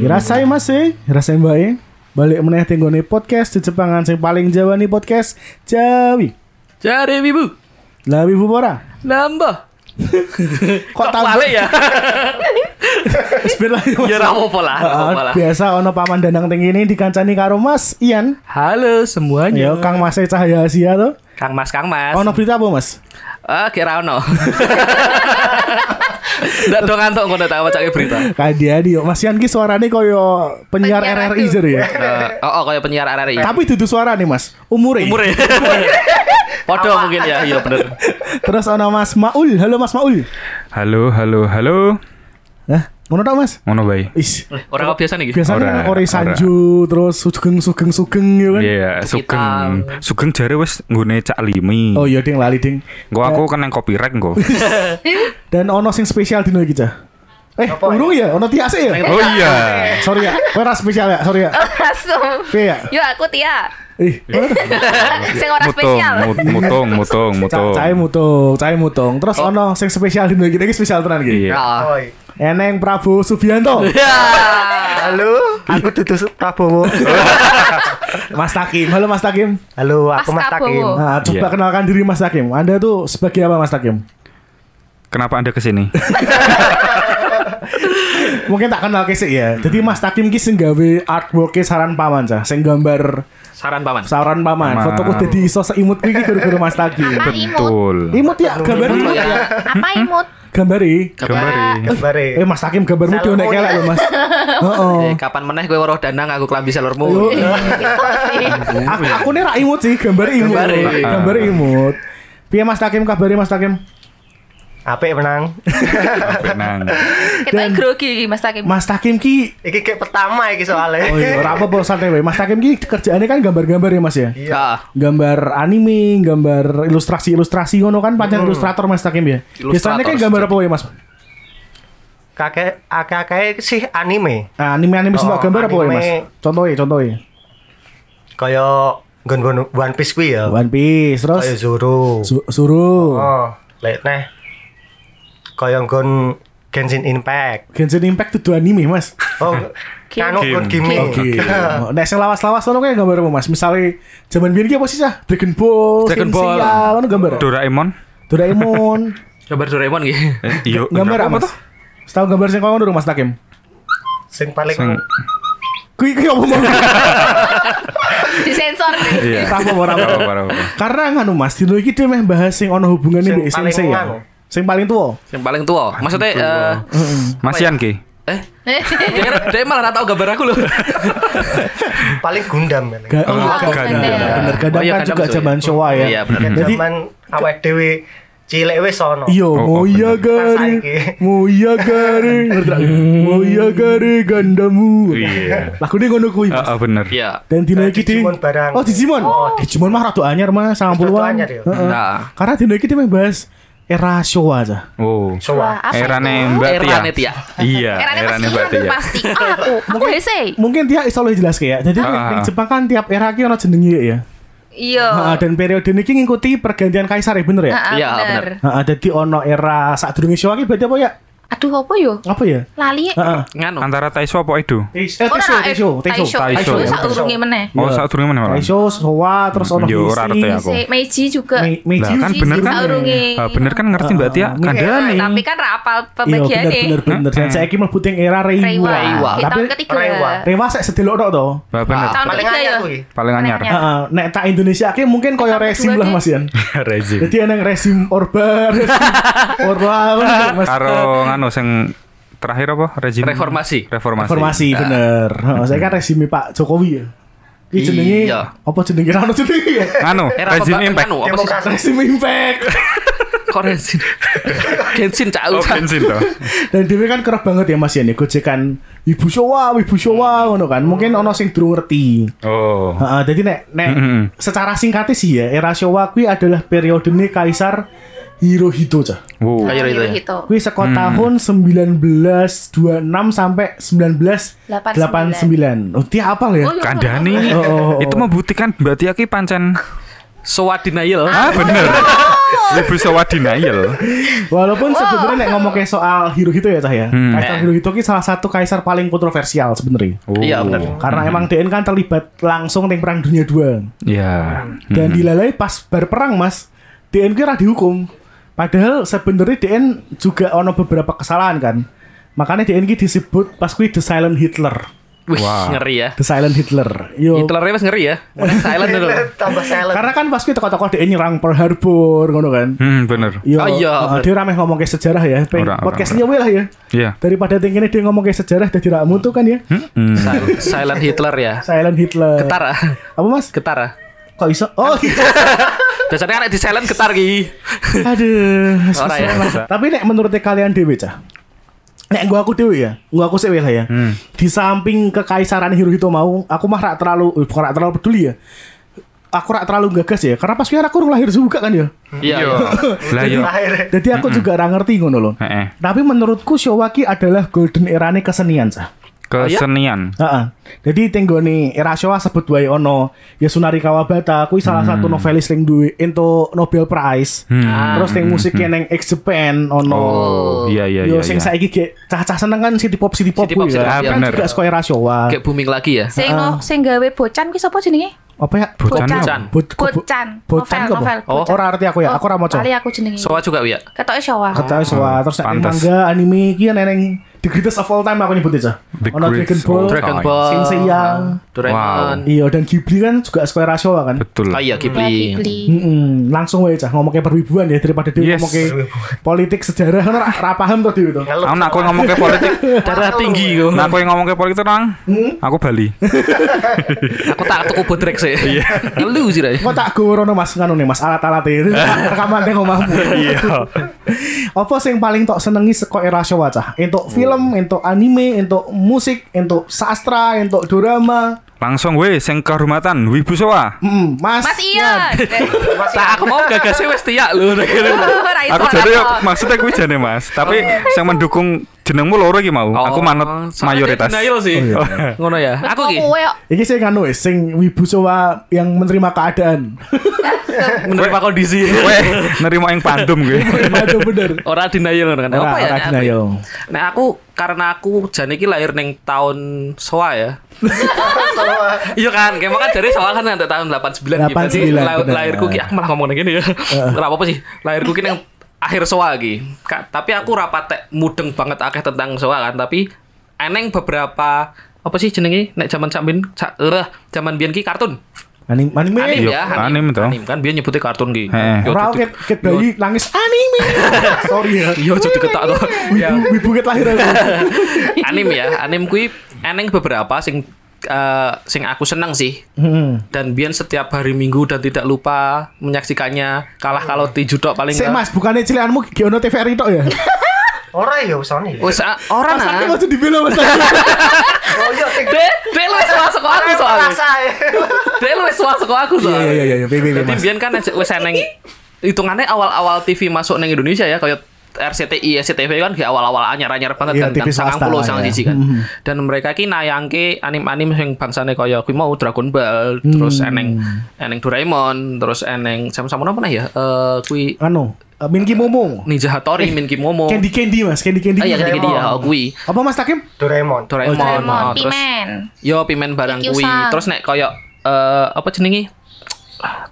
Dirasain Hmm. mas sih, dirasain bae. Balik meneh tinggone podcast di Jepangan sing paling Jawa nih podcast Jawi. Cari wibu. Lah wibu ora. Nambah. Kok tambah? tambah ya? Speed lah Mas. Ah, Iya, Ya ora apa lah, ora apa lah. Biasa ono paman dandang tinggi ini dikancani karo Mas Ian. Halo semuanya. Iya. Ya Kang Mas Cahaya Asia tuh. Kang Mas, Kang Mas. Ono berita apa Mas? Ah, kira ono. Ndak dong antuk ngono tak wacake berita. Kadia di Mas Ian ki suarane koyo penyiar, Penyiar RRI aku. jer ya. Eh, oh, oh, kayak penyiar RRI. Iya. Tapi dudu suara nih Mas. Umure. Umur ya. Podo mungkin ya, iya bener. Terus ono Mas Maul. Halo Mas Maul. Halo, halo, halo. Hah? Ngono tok Mas? Ngono bae. Is. Orang biasa nih. gitu. Biasanya Ora, kan kore ora. sanju terus sugeng sugeng sugeng ya kan. Iya, sugeng. Sugeng jare wis nggone cak limi. Oh iya ding lali ding. Engko aku kena copyright engko. Dan ono sing spesial dino iki Cah. Eh, urung ya, ono tiase ya. Oh iya. Sorry ya, kowe ora spesial ya, sorry ya. Langsung. Piye ya? Yuk aku Tia. Ih, Eh, Sing ora Mutung, spesial. mut- mutung, mutung, mutung. cai mutung, cai mutung. Terus ono sing spesial dino iki, iki spesial tenan iki. Iya. Oh. Eneng Prabowo Subianto. Ya. Halo, aku Dudu Su- Prabowo. Mas Takim. Halo Mas Takim. Halo, aku Mas Mas Takim. Prabowo. Nah, coba Iya. kenalkan diri Mas Takim. Anda tuh sebagai apa Mas Takim? Kenapa Anda ke sini? Mungkin tak kenal kesik ya. Jadi Mas Takim ki sing gawe artwork saran paman cah, sing gambar Saran paman. saran paman. Paman. Fotoku dadi iso seimut kuwi ki guru-guru Mas Takim. Apa imut? Betul. Imut ya, gambar Iya. imut ya. Apa imut? Gambari. Gambari. Eh Bare. Mas Hakim gambarmu Salmon. dionek kelek loh Mas. Heeh. Iya, Eh, kapan meneh gue waroh danang aku klambi Yo, selormu. iya. Aku aku nih ra imut sih, gambar imut. Gambar imut. Gambar imut. Piye Mas Takim kabare Mas Takim? Apik menang. Benang. Kita grogi iki Mas Takim. Mas Takim ki Iki kayak pertama iki soalnya. Oh iya, ora apa-apa santai wae. Mas Takim ki kerjaannya kan gambar-gambar ya Mas ya. Ya. Gambar anime, gambar ilustrasi-ilustrasi ngono kan Hmm. pancen ilustrator Mas Takim ya. Biasanya kan Ilustrator, gambar apa ya Mas? Kakek kakek sih anime. Ah, Anime-anime sing Oh, tak gambar apa ya anime. Mas? Contohnya, contohnya. Kaya gon-gon One Piece kuwi ya. One Piece, terus Kaya Zoro. Su- Suruh iya. Oh, lek neh. Kaya gon Genshin Impact. Genshin Impact itu anime Mas. Oh, Game. kanu gon Game. game. Oke. Nek sing lawas-lawas ono kayak gambar apa Mas? Misale jaman biyen ki apa sih Cah? Dragon Ball, Dragon Shin Ball. Seiya, ono gambar. Doraemon. Doraemon. Coba Doraemon gitu. Eh, Iya. gambar apa tuh? Setahu gambar sing kono durung Mas Takim. Sing paling Sing- Kuwi kuwi apa mau? Disensor nih. Iya. Tak apa ora Apa, apa. apa, apa. Karena nganu Mas, dino iki dhewe meh bahas sing ono hubungane Sing mbek Shin paling Seiya. nganu. Sing paling tuwa. Yang paling tua. Maksudnya eh, Masian ki. eh dia, dia malah nggak tahu gambar aku loh. paling Gundam. ya, men. Ga- oh, Oh, Gundam. Gundam. Bener, Gundam Oh, iya, kan Gundam juga juga. jaman Showa ya. Iya, bener. Jadi Zaman awake dhewe cilik wis ono. Iya, Oh, mau oh, iya bener. gari, Saiki. mau iya gari, Ngerti tak? mau iya gari gandamu. Iya. Lagu ini ngono kuwi. Mas. Heeh, Ah, bener. Iya. Dan dino Eh, iki di Digimon barang. Oh, Digimon. Oh, Digimon mah rada anyar mah 90-an. anyar ya? Heeh. Nah. Karena dino iki dhewe bahas era Showa aja. Oh. Wah, Soa. apa itu? Erane Mbak Tia. Erane Tia. Iya, Erane erane pasti Mbak Ian, Tia. pasti. Ah, Aku, aku hese. Mungkin dia iso lebih jelas kayak. Jadi Ah. ning Jepang kan tiap era ki ono jenenge ya. Heeh, Iya. dan periode niki ngikuti pergantian kaisar ya bener ya? Ah, Iya, bener. Heeh, jadi ono era sadurunge Showa ki berarti apa ya? Aduh, apa yo? Apa ya? Lali. Heeh. Nganu. Antara Taiso apa Edo? Eh, Taisho, Ora eh, Taisho, Taisho. Taisho. Taisho Taisho. wis saurunge meneh. Oh, Iya. saat durungnya mana? Taisho, Showa, terus ono Yo, ora ngerti Meiji. aku. Si Meiji juga. Oh. Me- Lah Meiji kan Jiji, bener kan? saurunge. Ah, bener kan ngerti Mbak Tia? Iya. Kandani. Tapi kan ra apal Iya, bener pembagiane. bener bener. Dan saya mlebu ing era Reiwa. Reiwa. Reiwa. Ki Tahun Tapi ketiga. Reiwa. Rewa sek sedelok tok to. Wah, Tahun bener. Paling ketiga anyar ya. kuwi. Paling anyar. Paling Heeh, nek tak Indonesia ki mungkin koyo Sampai resim dua lah deh. Mas Yan. Rezim. Jadi ada yang resim Orba, resim Orba, Mas. Karo nganu sing terakhir apa? Rezim. Reformasi. Reformasi. Informasi bener. Heeh, Saya kan resimi Pak Jokowi ya. Ini jenenge Iya. apa jenenge ra ono jenenge ya? Nganu, Era apa, rezim Mbak? impact. Eh, Nganu, apa sih? Demokrasi. Resim impact. Korensin. Gensin cau. Oh, bensin toh. Dan dhewe kan kerap banget ya Mas Yan ya gojekan ibu Showa, ibu Showa ngono kan. Mungkin ono sing durung ngerti. Oh. Heeh, jadi nek nek Mm-mm. secara singkatnya sih ya, era Showa kuwi adalah periode Kaisar Hirohito cah. Wow. Ayo itu. ya. Gitu. Kuwi seko tahun 1926 sampai 1989. Oh, dia apal ya? Oh, iya. Kandani. Oh, oh, oh. Itu membuktikan Mbak Tia ki pancen. iya. Soa denial. Ah, bener. Lebih sewa denial. Walaupun sebenarnya nek ngomongin soal Hirohito ya cah ya. Hmm. Kaisar Hirohito ki salah satu kaisar paling kontroversial sebenarnya. Oh. Iya, benar. Karena emang DN kan terlibat langsung di perang dunia 2. Iya. Dan dilalai pas bar perang Mas. DN ki ra dihukum. Padahal sebenarnya DN juga ono beberapa kesalahan kan. Makanya DN ki disebut pas kuwi The Silent Hitler. Wih, Wah. ngeri ya. The Silent Hitler. Yo. Hitlernya mas ngeri ya. Mana silent dulu. Tambah silent. Karena kan pas kuwi tokoh-tokoh DN nyerang Pearl Harbor ngono kan. Hmm, bener. Yo, Oh, uh, iya. dia ramai ngomong ke sejarah ya. Peng, Ora, ora, podcastnya weh lah ya. Iya. Daripada tingkini dia ngomong ke sejarah jadi ramu tuh kan ya. Hmm. Sil- Silent Hitler ya. Silent Hitler. Getar ah. Apa mas? Getar ah. Kok bisa? Oh iya. Biasanya kan di silent getar ki. Aduh. Ora ya. Tapi nek menurut kalian dewe cah. Nek gua aku dewe ya. Gua aku sih weh lah ya. Di samping kekaisaran Hirohito mau, aku mah rak terlalu eh, bukan rak terlalu peduli ya. Aku rak terlalu gagas ya. Karena pas kira aku urung lahir juga kan ya. Iya. Yo. Lah yo. Iya. Lahir. Jadi aku juga rak ngerti ngono loh. Heeh. Tapi menurutku Showaki adalah golden era kesenian cah. Kesenian. Heeh. Jadi tenggone era Showa sebut wae ono Yasunari Kawabata kuwi salah satu novelis sing duwe ento Nobel Prize. Hmm. Terus yang musiknya neng X Japan ono. Oh, iya iya Yo iya. sing iya. saiki ge cah-cah seneng kan city pop city pop City pop, kuwi city kan. pop, Kan iya. juga sekolah era Showa. Kayak booming lagi ya. Sing Ah. no, sing gawe bocan ki sapa jenenge? Apa ya? Bocan. Bocan. Bot Bocan. Bocan Novel, kok. novel. Oh, Bocan. ora arti aku ya. Aku ora maca. Kali aku jenenge. Soa juga ya. Ketoke Showa. Ketahui Showa terus nek neng Pantes. manga anime iki neneng The Greatest of All Time aku nyebut aja. The Ono Dragon Greatest Ball. of All Time. Dragon Time. Ball. Sing Seiya. Doraemon. Iya dan Ghibli kan juga sekolah era Showa kan. Betul. Ah iya Ghibli. Ghibli. Mm-mm, langsung aja cah ngomongnya perwibuan ya daripada dia Yes. ngomongnya politik sejarah kan ra- ra paham tuh dia itu. Ngeluh. Aku nak aku ngomong ke politik. Darah tinggi kok. Nak aku yang ngomong ke politik nang. Hmm? Aku Bali. Aku tak tuku bodrek sih. Iya. Lu sih Ray. Kok tak gorono mas nganu nih mas alat-alat ini rekaman yang ngomahmu. Iya. Apa sih yang paling tok senengi seko era Showa cah? Entuk film, entuk anime, entuk musik, entuk sastra, entuk drama. Langsung we sing kehormatan Ah, Wibu Soa. Mm, mas. Mas iya. Ian. Eh, Tak aku mau gagasnya wes tiak lu. Ora iso, Aku ora jadi iso. maksudnya kuwi jane Mas, tapi Oh. yang mendukung jenengmu loro iki mau. Aku manut mayoritas. Denial sih. Oh, Ngono ya. Wes Aku ki kowe kok. Ini sih nganu eh, sing wibu Showa yang menerima keadaan. menerima kondisi. Kowe nerima yang pandum gue. Itu bener. Ora denial kan. Ora- Apa ya? ora Nek aku- denial. Nek aku karena aku jane iki lahir ning tahun soa ya. Iya kan, kayak kan dari soal kan nanti tahun 89 gitu. Jadi 89, la- bener. lahirku ki aku malah ngomong gini ya. Ora apa-apa sih. Lahirku ki nang akhir soal ki. Ka- Tapi aku ora patek mudeng banget akeh tentang soal kan, tapi eneng beberapa apa sih jenenge nek zaman samin sa- eh, zaman biyen ki kartun. Anime, anime. Anim ya, Iya, anim toh. kan biyen nyebutnya kartun ki. Heeh. Yo, Orang jadi- ket ket bayi nangis anime. Sorry ya. Yo jadi ketak toh. Ya. Wibu, wibu ket lahir aku. anim ya anim kui eneng beberapa sing eh, sing aku seneng sih Hmm. dan Bian setiap hari Minggu dan tidak lupa menyaksikannya kalah kalau ti judok paling Sik mas, bukannya cilianmu Giono TVRI tok ya? Ora ya usane. ya. Wes ah, ora Mas aku nah. masih dibela mas Oh iya sing Dek, dek lu wis masuk aku soalnya. Rasa, ya. Dek lu wis masuk aku Iya soalnya. iya iya iya, baby Jadi mas. Bian kan aja- wes eneng hitungannya awal-awal TV masuk neng Indonesia ya kayak RCTI, SCTV kan di awal-awal anyar-anyar banget Iya, kan, TV kan swasta sangang puluh lah sangang ya. siji kan. Dan mereka ki nayangke anim-anim yang bangsane kaya kuwi mau Dragon Ball, terus Hmm. eneng eneng Doraemon, terus eneng sama sama apa nah ya? Eh kuwi Anu, eh, Minky Momo. Ninja Hattori, Minky Momo. Eh, Candy Candy mas, Candy Candy. Ah iya ketika dia Doraemon. oh, kui. Apa mas Takim? Doraemon. Doraemon. Doraemon, oh, terus Pimen. yo pimen barang Iki kui. usang. Terus nek koyo eh apa jenenge?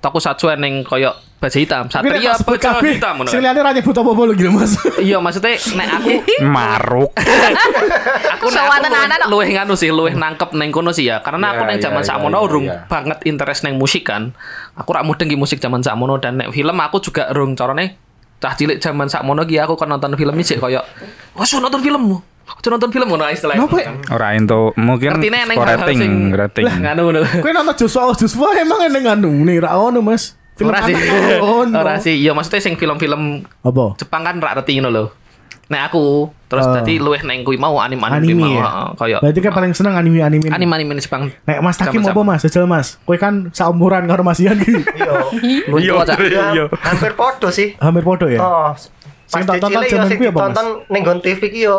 Tokusatsu ning koyo baja hitam, satria sebut baja kabeh, hitam ngono. Sing kan. liane ra nyebut apa-apa lho gitu mas. Iya maksudnya nek aku Maruk. aku nek Sowan aku tenanan kok. luwih nganu sih, luwih nangkep neng kono sih ya. Karena aku Ya, neng ya, zaman ya, sakmono ya, urung ya. banget interest neng musik kan. Aku rak mudeng ki musik zaman sakmono dan nek film aku juga urung carane cah cilik zaman sakmono ki aku kan nonton film sih koyo wes nonton film. Wes nonton film ngono istilahnya. Kenapa? Ora ento mungkin Ngertine neng skor hal-hal rating, sing rating. nganu ngono. Kowe nonton Joshua oh, Joshua emang eneng anu nih ra ono mas. Film Ora sih. anak Oh, ono. Ora sih. Ya maksudnya sing film-film Apa? Jepang kan rak reti ngono lho. Nek aku terus Oh. tadi luweh neng kuwi mau anime-anime Anime mau ya. heeh, oh, koyo Berarti kan paling seneng anime-anime. ini. anime-anime Jepang. Nek Mas Takim apa Sama-sama. Mas? Jajal Mas. Kowe kan saumuran karo Mas Ian gitu. Iya. Luwih tua cak. Ya, Hampir podo sih. Hampir podo ya. Oh. Sing Pas tak tonton dicilek ya zaman sing kuwi apa, Mas? ditonton ning nggon TV ki yo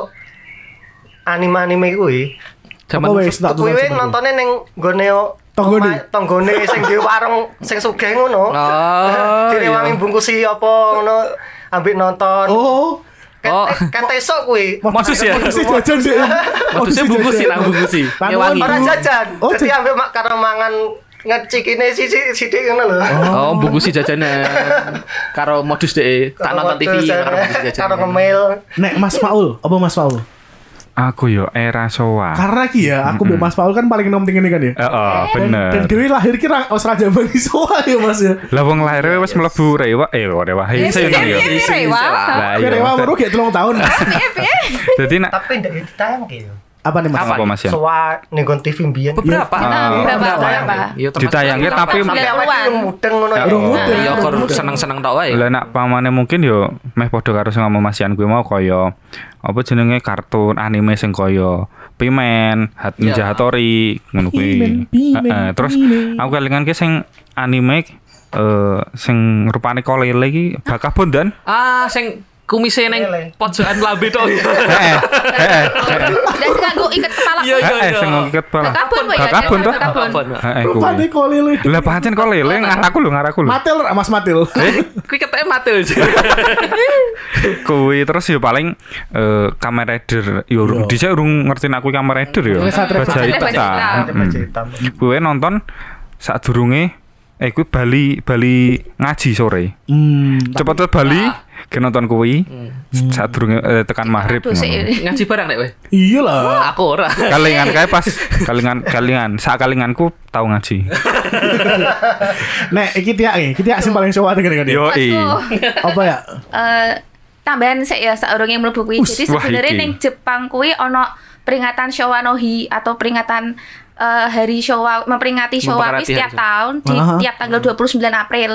anime-anime kuwi. Apa Zaman wes tak tonton Kuwi weh seperti itu? nontone ning nggone Tonggone. Ma- tonggone sing di warung sing sugih ngono. Oh, iya. Direwangi bungkusi apa ngono ambek nonton. Oh, Ket- Oh. Kate esuk kuwi. Modus ya? Modusnya jajan sih. Modusnya bungkus sih, nang bungkus sih. Lan Ngewangi. ngono. Ora jajan. Oh, Dadi jajan. ambek mak karo mangan ngecikine sisi sithik ngono lho. Oh, bungkusi jajanan. Karo modus deh, tak nonton TV Terus, karo bungkusi ya. jajanan. Karo ngemil. Nek Mas Paul, apa Mas Paul? Aku yo era soa. Karena ki ya, aku mbek Mas Paul kan paling nom ini kan ya. Eh, eh, Dan, bener. dan Dewi lahir kira os raja bani soa ya Mas ya. Lah wong lahir wis mlebu rewa eh rewa Eh, piye, hese iya, kan yo. piye, Isi, isi Rewa? lah. Lah Kira iya. wah baru maksud- kayak telung tahun. Piye, piye? Dadi nak Tapi ndak gitu, ditayangke yo. Apa nih Mas? Apa? apa Mas ya? ya? Soa ning nggon TV Iya, mbiyen. Iya. Beberapa. Ah, Nah, beberapa, Ditayang. beberapa. Iya, termasuk- Ditayangnya tapi Sampai Sembilan awake ruang. dhewe mudeng ngono ya. Urung mudeng. Ya, kor seneng-seneng tok wae. Lah nak pamane mungkin yo meh padha karo sing ngomong masian gue mau kaya apa jenenge kartun anime sing kaya Pimen, Hat Ya. Ninja Hattori ngono kuwi. Pimen, Pimen, Heeh, terus Pimen. aku kelingan ki sing anime eh sing rupane kolele iki bakah bondan. Ah, sing kumise neng Lele. pojokan lambe tok. Heeh. Heeh. heeh. Dan sekarang gue ikat kepala. Iya, iya, Heeh, iya. sing ngiket pala. Kakabun, Bu, ya. Kakabun, toh. Kakabun. Apa? Heeh Rupane kuwi. kolele. Lah pancen kolele ngaraku lho ngaraku lho. Matil Mas Matil. Kuwi ketemu mati lho. Kuwi terus yo paling eh Kamen Rider yo urung dhisik urung ngerti aku Kamen Rider yo. Wis satria- Baja satria- hitam. baja hitam. Mm. Ada Hmm. baca hitam. Gue nonton saat durunge eh kuwi Bali Bali ngaji sore. Hmm. Cepet cepet Bali ge nonton kuwi saat durunge eh, tekan maghrib. Aduh, sik. ngono. Ngaji bareng nek weh. Iya lah. Nah, Aku ora. Kalingan kae pas kalingan kalingan sak kalinganku tau ngaji. Nek iki tiak e, iki tiak sing paling soa dengan dia. Yo Aduh. kan ya? Apa ya? eh tambahan sik ya saurunge mlebu kuwi. Us, Jadi wah, sebenarnya iki. ning Jepang kuwi ana peringatan Showa no Hi atau peringatan eh, hari Showa memperingati Showa Memperingati kuwi setiap hari tahun di Aha. tiap tanggal 29 April.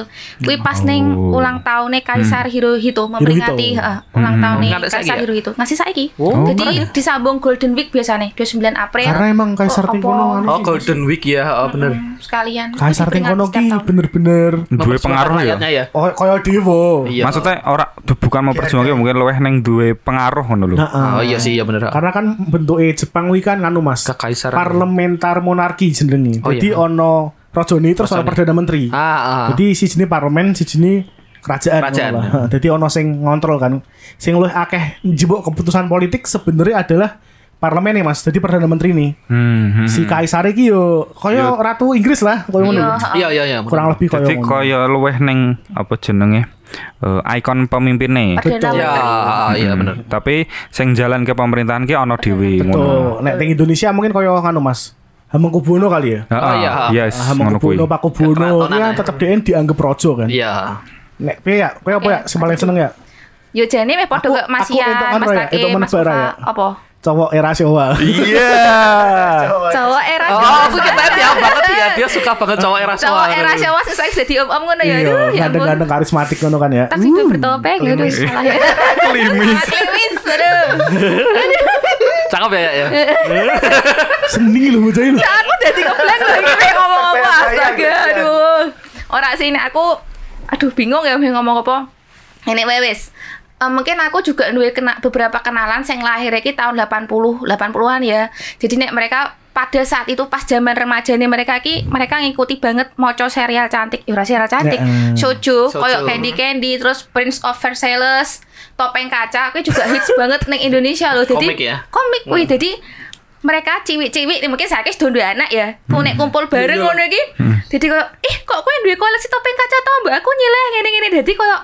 Kuwi pas ning Oh. ulang tahunnya Kaisar Hirohito memperingati Hirohito. eh, ulang tahunnya Nganti saiki Kaisar ya? Hirohito. Ngasih saiki. Oh, Jadi disambung Golden Week biasanya 29 April. Karena emang kaisar Oh, ting apa? kono anu. Oh, Golden Week ya, oh bener. sekalian. Kaisar ting Diperingati kono setiap ki tahun. bener-bener. duwe pengaruh ya. Rakyatnya ya. Oh, kaya dewa. Iya. Maksudnya ora du- bukan mau perjuangin mungkin luweh neng duwe pengaruh ngono lho. Heeh. Oh iya sih, iya bener. Karena kan bentuknya Jepang wi kan anu Mas. Kekaisaran. Parlementar monarki jenenge. Oh, Jadi iya. ono rajane terus ono Rajane. perdana menteri. Ah, ah. Jadi si jenis parlemen, si jenis kerajaan. Kerajaan. ngono lah. Jadi ono sing ngontrol kan. Sing luwih akeh njebuk keputusan politik sebenarnya adalah parlemen ya Mas. Jadi perdana menteri nih. Hmm. hmm. Si kaisar iki yo kaya ratu Inggris lah, kaya ngono. Iya, iya, iya. bener. Kurang lebih kaya Iya. Jadi ngono. kaya luweh neng apa jenenge? eh, ikon pemimpinnya. Perdana Ya, iya bener. Tapi sing jalan ke pemerintahan ki ono dhewe ngono. Tuh, nek teng Indonesia mungkin kaya anu Mas. Hamengkubuwono kali ya. Heeh. Oh, iya. Ah, Yes, Ah, ngono kuwi. Hamengkubuwono, Pakubuwono, Kekeratonan kan ya. tetep dhek dianggep raja kan. Iya. Nek piye ya? Kowe Iya, apa ya sing paling seneng ya? Yo jane meh padha Aku- kok Mas aku entuk Ian, anu Mas ya, Take, entuk Mas menebara Ufa, ya. apa? Cowok era Jawa. Iya. Cowok era Oh, Jawa. aku kita tiap banget ya. Dia suka banget cowok era Jawa. cowok era Jawa sing saiki dadi om-om ngono ya. Iya, Aduh, ya ampun. ganteng-ganteng karismatik ngono kan ya. Tak sing bertopeng ya aduh salah ya. Klimis. Klimis, aduh. Cakep ya, ya, ya. Seni Nah, lho bocah ini. Aku dadi keblank lho iki pengen ngomong apa Terbayang, astaga kasihan. aduh. Ora sih nek aku aduh bingung ya pengen ngomong apa. Ini anyway, wes. Eh, mungkin aku juga duwe kena beberapa kenalan yang lahir iki tahun 80, 80-an ya. Jadi nek mereka pada saat itu pas zaman remaja nih mereka ki mereka ngikuti banget moco serial cantik ya ora serial cantik Ya, eh. shoujo koyok Shoujo. Candy Candy terus Prince of Versailles topeng kaca aku juga hits banget ning Indonesia loh jadi Komik ya? komik wih jadi mereka ciwik-ciwik nih, mungkin sakit dondo anak ya ku nek kumpul bareng Iya. ngono iki jadi koyo ih kok kowe duwe koleksi topeng kaca to mbak aku nyileh ngene-ngene jadi koyo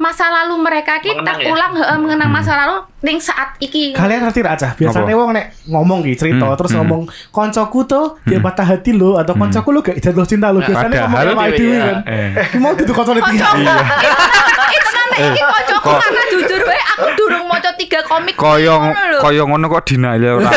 masa lalu mereka ki Mengenang ya? terulang heeh mengenang masa lalu ning saat iki Kalian ngerti gak Cah? Biasanya Apa? wong nek ngomong gitu cerita Hmm, terus hmm. ngomong koncoku tuh dia patah hati lo atau koncoku lo gak jatuh cinta Nah, lo biasanya ngomong padahal sama dewe dewe ya. kan. Eh. Ki Mau duduk koncone tiga. Kocok, itu kan iki kocokku karena jujur wae aku durung maca tiga komik Kaya ngono lho. kaya ngono kok dinaile ora.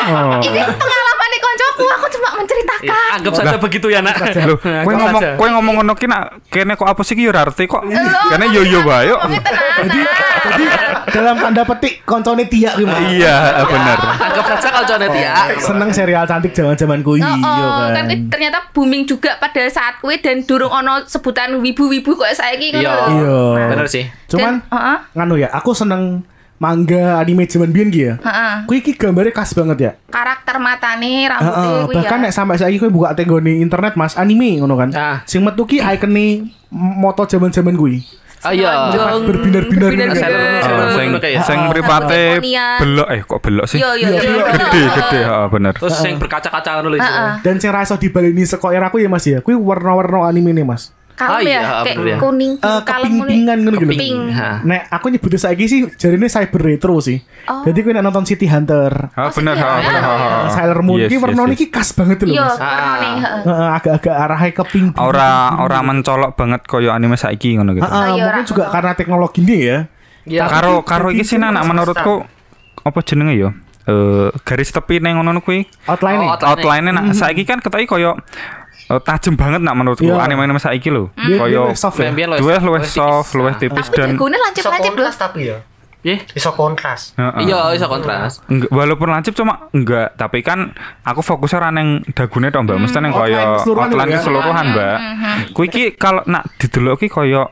Oh. ini pengalaman nih koncoku aku cuma menceritakan Anggap saja begitu ya, Nak. Lho, kowe ngomong kowe ngomong ngono ki nak kene kok apa sih ki yo ora Eh, arti kok. Kene yo yo bae. Ngomongnya tenang, tenang. Jadi dalam tanda petik koncone tiga gimana? Iya, ah, bener. Anggap saja kalau cowok dia. Seneng serial cantik zaman-zaman kuwi Oh, iya oh, kan. kan kuwi ternyata booming juga pada saat kue dan durung ono sebutan wibu-wibu kok saiki Iya. Oh. ngono lho. Iya. Bener sih. Cuman Dan- heeh. nganu ya, aku seneng manga anime zaman biyen ki ya. Heeh. Kuwi iki gambare khas banget ya. Karakter matane Heeh, rambutnya kuwi ya. bahkan nek sampai saiki kowe buka tenggone internet Mas anime ngono kan. Ah. Sing metu ki ikone moto zaman-zaman kuwi. Ah iya. Menonjol, Berbinar-binar berbinar-binar. Eh, gitu. Oh, Sailor sing Moon kayak ya? sing Oh. mripate Harmonian. belok eh kok belok sih? Yo yo Iya, yo. bener. Gede gede heeh bener. Terus yang berkaca-kaca nulis. Heeh. Dan sing ra iso dibaleni saka era kuwi ya Mas ya. Kuwi warna-warna anime nih Mas. Kalem Ah, iya, ya, kayak bener ya. kuning, Eh, kalem kuning. keping-pingan ngono gitu. Pink. Ah. Ha. Nek aku nyebutnya saiki sih jarine cyber retro sih. Oh. Jadi kowe nek nonton City Hunter, Heeh Oh, Ah, bener sing heeh ya? bener. heeh, heeh. Sailor Moon Ah. Yes, iki yes, warna yes. niki khas banget Yo, gitu loh Mas. Iya, warnane, Ah. heeh. Heeh, agak-agak arahnya ke pink. Ora ora mencolok banget koyo anime saiki ngono gitu. Heeh, Oh, iya, Ah, mungkin ora. juga karena teknologi ini ya. Iya. Karo karo iki sih Jadi, nak menurutku apa jenenge yo? Eh garis tepi neng ngono kuwi Outline. nih. Oh, outline. outline-nya nak saiki kan ketoki koyo eh, tajem banget nak menurutku Iya. anime-anime saiki hmm. lho. Dia- dia Koyo lebih Hmm. soft ya. Membian duwe luwih soft, luwih tipis. Ah. tipis Tapi dan jagoannya Iso lancip-lancip loh. kontras tapi ya. Iya. Iso kontras. Heeh. Iya, bisa kontras. Enggak, walaupun lancip cuma enggak, tapi kan aku fokusnya ra neng dagune tok, Mbak. Mesti neng Outline koyo keseluruhan outline ya. keseluruhan, Mbak. Kuwi iki kalau nak didelok iki koyo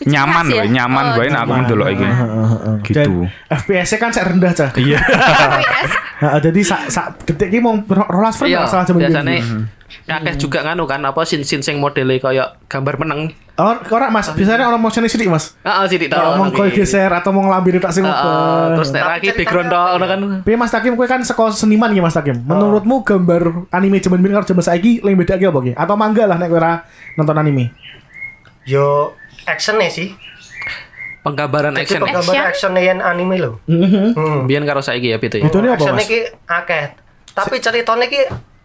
nyaman khas ya? loh, nyaman Oh, wae nak aku nyaman. ndelok iki. Heeh, heeh. Gitu. ah, Dan FPS-nya kan saya rendah cah. Iya. FPS. Heeh, jadi sak sak detik ini mau ro- rolas frame Iya, nggak salah zaman biasanya dulu. Hmm. akeh juga nganu kan apa sin-sin sing modele koyo gambar meneng. Oh, ora Mas, biasanya orang motion sidik Mas. Heeh, sidik Kalau mau koyo geser atau mau ngelampiri tak sing Heeh, apa. Ah, ya? terus nek lagi background tok ngono kan. Tapi Mas Takim kowe kan seko seniman ya Mas Takim. Ah. Menurutmu gambar anime zaman biyen karo zaman saiki lebih beda apa ki? Atau mangga lah nek kowe ora nonton anime. Yo action sih. Penggambaran Jadi action. penggambar Action? action anime lho. Heeh. Hmm. Biyen karo saiki ya pitu ya. Itu apa Action Mas? iki akeh. Tapi ceritanya iki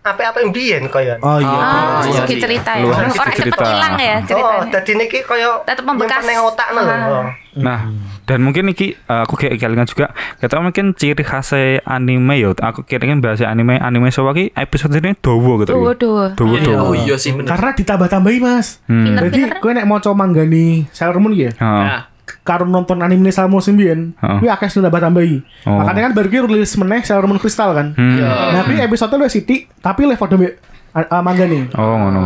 apa-apa yang biyen koyo. Oh iya. Oh, iya segi sih. cerita ya. Luar Orang segi cepet cerita. hilang ya Oh, ceritanya. dadi niki koyo Tetep membekas. nyimpen neng otak lho. Ah. Oh. Nah, Mm-hmm. dan mungkin iki eh, aku kayak kelingan juga. Kita mungkin ciri khas anime yo. Aku kira-kira bahasa anime anime sowa ki episode ini dowo gitu. Duo yo. duo. Dowo Iya, Oh dowo. iya sih Kan. bener. Karena ditambah-tambahi Mas. Hmm. Jadi Pinter-pinter. kowe nek maca mangga nih Sailor Moon ki ya. Heeh. Nah, karo nonton anime Sailor Moon Symbian, Heeh. kuwi akeh sing tambah-tambahi. Oh. Makanya kan baru ki rilis meneh Sailor Moon Crystal kan. Hmm. Iya. Nah, kuwi episode lu sithik tapi level demi mangga nih. Oh ngono.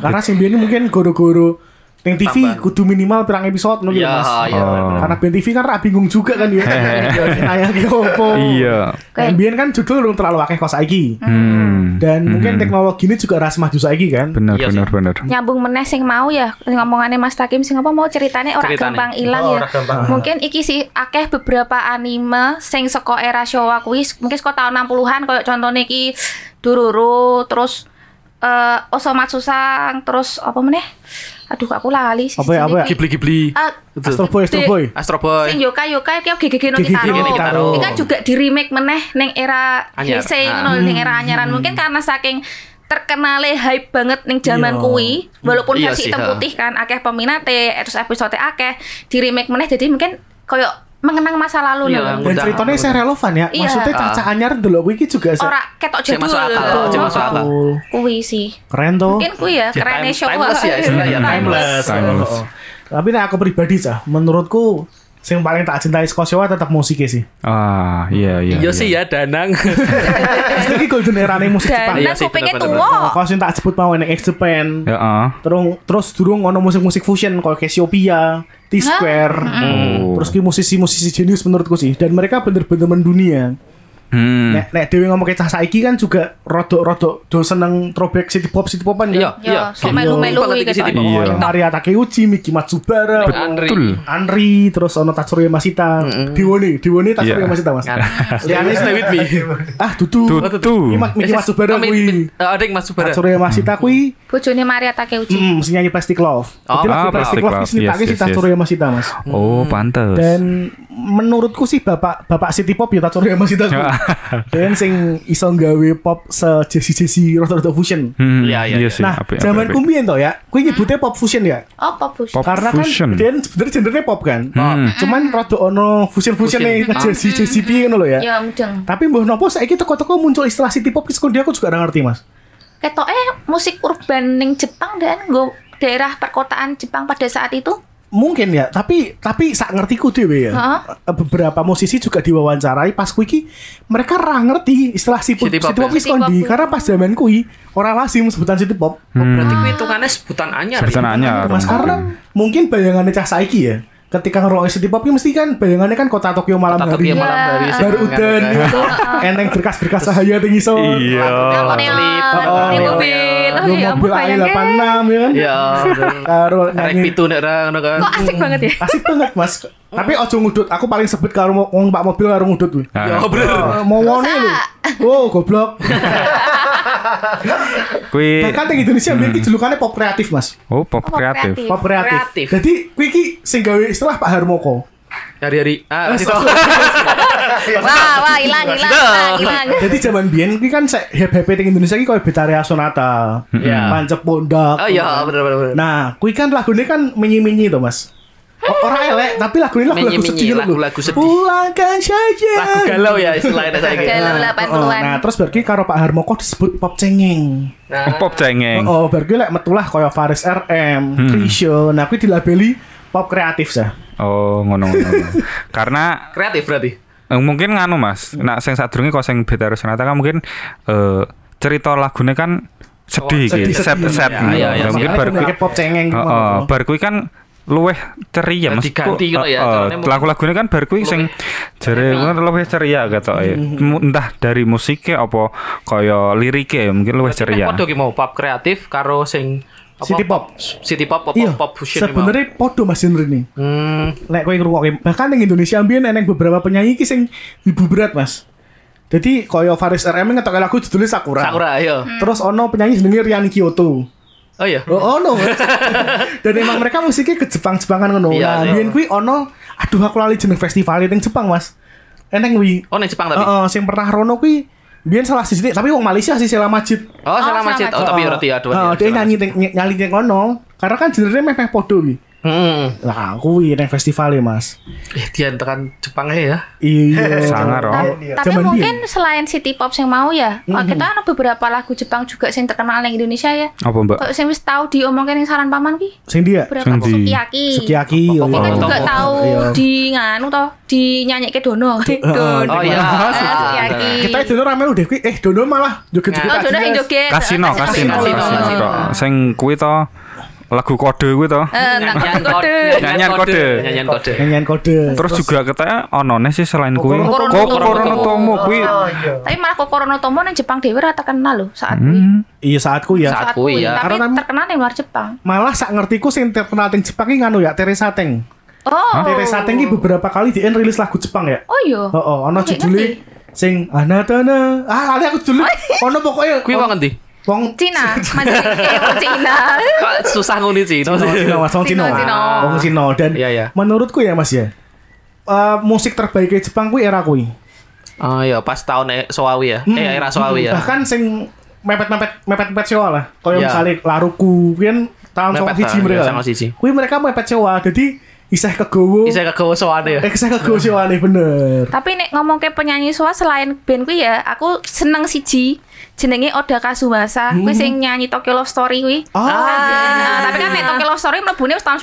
Karena Symbian ini mungkin goro-goro Neng TV kudu minimal pirang episode ngono gitu, iya, Mas. iya. Oh. Karena Ben TV kan ra bingung juga kan ya. Ayah ki opo. Iya. Nah, Mbien kan judul belum terlalu akeh kos saiki. Hmm. Dan mungkin teknologi ini juga ras maju saiki kan. Bener Iya sih. bener bener. Nyambung meneh sing mau ya sing ngomongane Mas Takim sing apa mau ceritane ora Ceritane. gampang ilang Oh, ya. ora gampang. Mungkin iki sih akeh beberapa anime sing saka era Showa kuwi mungkin saka tahun 60-an koyo contohnya iki Dororo terus eh Osomatsu Sang terus apa meneh? Aduh aku lali sih. Ah, Apa ya, apa ya? Ghibli-ghibli. Astro Boy, Astro Di- Boy. Astro Boy. Ah, Sing yokai yokai kayak gigi no Gegege Kitaro. no Kitaro. Ini kan juga di remake meneh neng era Anyar. Heisei Ah. no, neng era anyaran mungkin karena saking terkenale hype banget neng zaman Iya. kui walaupun Iya sih, versi hitam ha. putih kan akeh peminate terus episode akeh di remake meneh jadi mungkin koyo mengenang masa lalu Dan Iya. nih Udah, ceritanya udah. saya relevan ya. Iya. Maksudnya caca anyar delok kuwi iki juga se- ora ketok Sik jadul masuk akal, sik masuk akal. Betul. kui sih Keren tuh. mungkin kui ya Time- keren show timeless ya istilahnya, timeless. Timeless. Oh, oh. Tapi nek aku pribadi cah, menurutku sing paling tak cintai saka Showa tetap musiknya sih. Ah, iya iya. Iya sih ya Danang. Pasti iki golden era nih musik Jepang. dan Iya nang sih, kupingnya bener-bener. tua Kalau sing tak sebut mau nek X Japan. Ya ah. Terus terus durung ono musik-musik fusion kayak Cassiopeia, T-Square. Oh. Terus ki musisi-musisi jenius menurutku sih dan mereka bener-bener mendunia. Hmm. Nek nek dhewe ngomong ke cah saiki kan juga rodok-rodok do seneng throwback city pop city popan ya. Iya, iya. Yo, sok melu-melu Banget iki gitu. sini. Iya. Ono Maria Takeuchi, Miki Matsubara, ono Andri. Betul. Anri, terus ono Tatsuya Masita, Diwone, Diwone Tatsuya Iya. Masita Mas. Kan. Ya, Liane stay with me. Ah, dudu. Dudu. Iya, Ini Mak- Miki Matsubara Amin, kuwi. Amin. Eh, Ada yang Matsubara. Tatsuya Masita Mm. kuwi bojone Maria Takeuchi Mm, sing nyanyi Plastic Love. Oh, Jadi lagu ah, Plastic Plastic Love Love. ini dipakai Yes, si yes, yes. Tatsuya Masita, Mas. Oh, pantes. Hmm. Dan menurutku sih bapak bapak City Pop ya Tatsuya Masita. kuwi. Dan sing iso nggawe pop se jesi-jesi rada-rada fusion. Hmm, Iya, iya, iya. sih. Nah, Apik, apik, zaman apik. kumbien toh ya. Kuwi nyebutnya pop fusion ya. oh popus Pop Karena kan fusion. dan sebenarnya gendernya pop kan. Hmm. Cuman rada ono fusion-fusion nih jesi-jesi piye ngono lho ya. ya mudeng Tapi mbah nopo saiki teko-teko muncul istilah City Pop ki sekondi aku juga ora ngerti, Mas. Ketok eh musik urban ning Jepang dan nggo daerah perkotaan Jepang pada saat itu. mungkin ya tapi tapi sak ngertiku dewe ya Heeh. beberapa musisi juga diwawancarai pas kui ki, mereka ra ngerti istilah si pop City city pop pop ki ya? City pop kondi ya. karena pas zaman kui orang lazim sebutan city pop Oh, berarti itu hitungannya sebutan anyar. Sebutan ya? anyar. mas karena mungkin bayangannya cah saiki ya ketika ngerokok city pop ini mesti kan bayangannya kan kota Tokyo malam Tetap hari. ya malam Iya, hari ah. sih. Baru udan Kan, gitu. Heeh. Eneng berkas-berkas cahaya tinggi so. Iya. Lampu Neon, klip, Oh, di iya. mobil. Oh, ya mobil ampun, AI bayangin. 86 ya kan. Iya. Karo Rek nyanyi. pitu nek ra ngono kan. Kok asik banget ya? Asik banget, Mas. Tapi ojo ngudut, aku paling sebut karo mo- wong Pak mobil karo ngudut kuwi. Nah, Ya bener. Eh, Mau ngone lu. Oh, goblok. Iya. kui Bahkan yang Indonesia Hmm. memiliki julukannya pop kreatif, Mas. oh pop Pop kreatif. kreatif. Pop kreatif. Iya, Kreatif. Jadi kuwi iki sing gawe istilah Pak Harmoko. Hari-hari. Ah, kasih tau. Iya. Wah, wah, hilang, hilang, hilang, hilang. Jadi zaman biyen kuwi kan sek hip-hip ning Indonesia iki koyo Betaria Sonata, Iya. Pancep Pondak. Oh iya, bener bener bener. Nah, kuwi kan lagune kan menyi-menyi to, Mas. O- Orang elek, tapi lagunya lagu-lagu Menyi-menyi, sedih lho. Hmm. lagu-lagu sedih. Pulangkan saja. Lagu galau ya istilahnya saya. Galau Nah, 80-an. Nah, terus berarti karo Pak Harmoko disebut pop cengeng. Nah, Oh, Pop cengeng. Oh, berarti lek metulah kaya Faris RM, Hmm. Krisyo. Nah, kuwi dilabeli pop kreatif sah. Oh, ngono-ngono. Karena Kreatif berarti. Eh, mungkin nganu mas Hmm. nah sing sadurunge kok sing Betaru Sonata kan mungkin eh cerita lagunya kan sedih Oh, sedih, gitu set sedih. set Ya, gitu. ya, ya, Nah, mungkin makanya bar kan kui pop cengeng. Oh, Heeh, bar kui kan luweh ceria mas Ganti-ganti gitu Kok, ya, eh, eh, caranya mungkin lagu-lagunya kan bar kui sing jare kan luweh ceria gitu ya Hmm. Mu- entah dari musiknya apa kaya liriknya ya, mungkin luweh ceria Podo ki mau pop kreatif karo sing apa? City pop. City pop pop Iya, pop fusion ini mau. sebenarnya podo Mas Hendri nih. Hmm. Lek kowe ngrungokke bahkan ning Indonesia mbiyen eneng beberapa penyanyi iki sing ibu berat, Mas. Jadi kaya Faris RM ngetokke lagu judulnya Sakura. Sakura ayo. Terus ono penyanyi jenenge Rian Kyoto. iya. Oh iya. Oh, ono. Mas. Dan emang mereka musiknya ke Jepang-Jepangan ngono. Iya, Nah, iya. biyen kuwi ono aduh aku lali jeneng festival ning Jepang, Mas. Eneng kuwi. Oh, ning Jepang Heeh, tapi. sing pernah rono kuwi biyen salah siji tapi wong Malaysia sih Sela Majid. Oh, salah Oh, masjid. salah Oh, tapi Heeh. berarti ya dua. Heeh, ya, dia salah nyanyi masjid. ning- ny- nyali ning kono. Karena kan jenenge meh-meh podo kuwi. Hmm. Lah, kuwi ning festival e, Mas. Eh, dia tekan Jepang ya. Iya. sangar oh Tapi Zaman mungkin selain City Pop yang mau ya, oh, kita ada beberapa lagu Jepang juga yang terkenal yang Indonesia ya. apa mbak Kok yang wis tahu diomongkan yang saran paman ki? sing dia Berapa Sing di- sukiyaki? sukiyaki Apa- oh, apa- Ini kan Oh. juga Tomo. tahu Iya. di nganu toh, di nyanyi ke dono. dono. Oh iya. Ah, sukiyaki. kita itu dulu rame udah kuwi eh dono malah joget-joget Oh, dono yang aja. joget. kasino kasino kasino, kasino kasino. tok. sing kui to lagu kode kui to Eh, tak kode. Nyanyian kode. Nyanyian kode. nyanyian kode Terus juga katanya onone sih selain kui Kokoro no Tomo. Kokoro no Tomo Oh, kui iya. Tapi malah Kokoro no Tomo yang Jepang dewe rata terkenal loh saat ini. iya saatku ya Saat- Saat Aku kui, ya. Tapi Karena- terkenal yang luar Jepang. malah sak ngertiku sing terkenal teng Jepang iki nganu ya Teresa Teng Oh. Teresa Teng iki beberapa kali dia rilis lagu Jepang ya Oh iya. oh oh ono Oke, Oh, judulnya sing anatana ah kali aku judulnya iya. ono pokoknya Kuwi wong ngendi? wong Cina, Mandarin, eh, wong Cina. Kok susah nguni sih. Cino, Cino, Mas, wong Cino. Cino, Cino. Wong Cino dan Iya, iya. menurutku ya Mas ya. eh, musik terbaiknya Jepang kuwi era kuwi. Oh iya, pas tahun eh, Soawi ya. Eh era Soawi ya. Hmm. Bahkan sing mepet-mepet mepet-mepet sewa lah. Kayak Iya. misalnya Laruku kuwi kan tahun Mepet sama siji lah, mereka. iya, songo siji. Kuwi mereka mepet sewa. Jadi isih kegowo. Bisa kegawa sowane ya. Eh isih kegowo sewa nih bener. Tapi nek ngomong ke penyanyi swa selain band kuwi ya, aku seneng siji jenenge Oda Kazumasa, kuwi sing nyanyi Tokyo Love Story kuwi. Hmm. Oh, Nah, tapi kan nek Tokyo Love Story mlebune wis tahun 91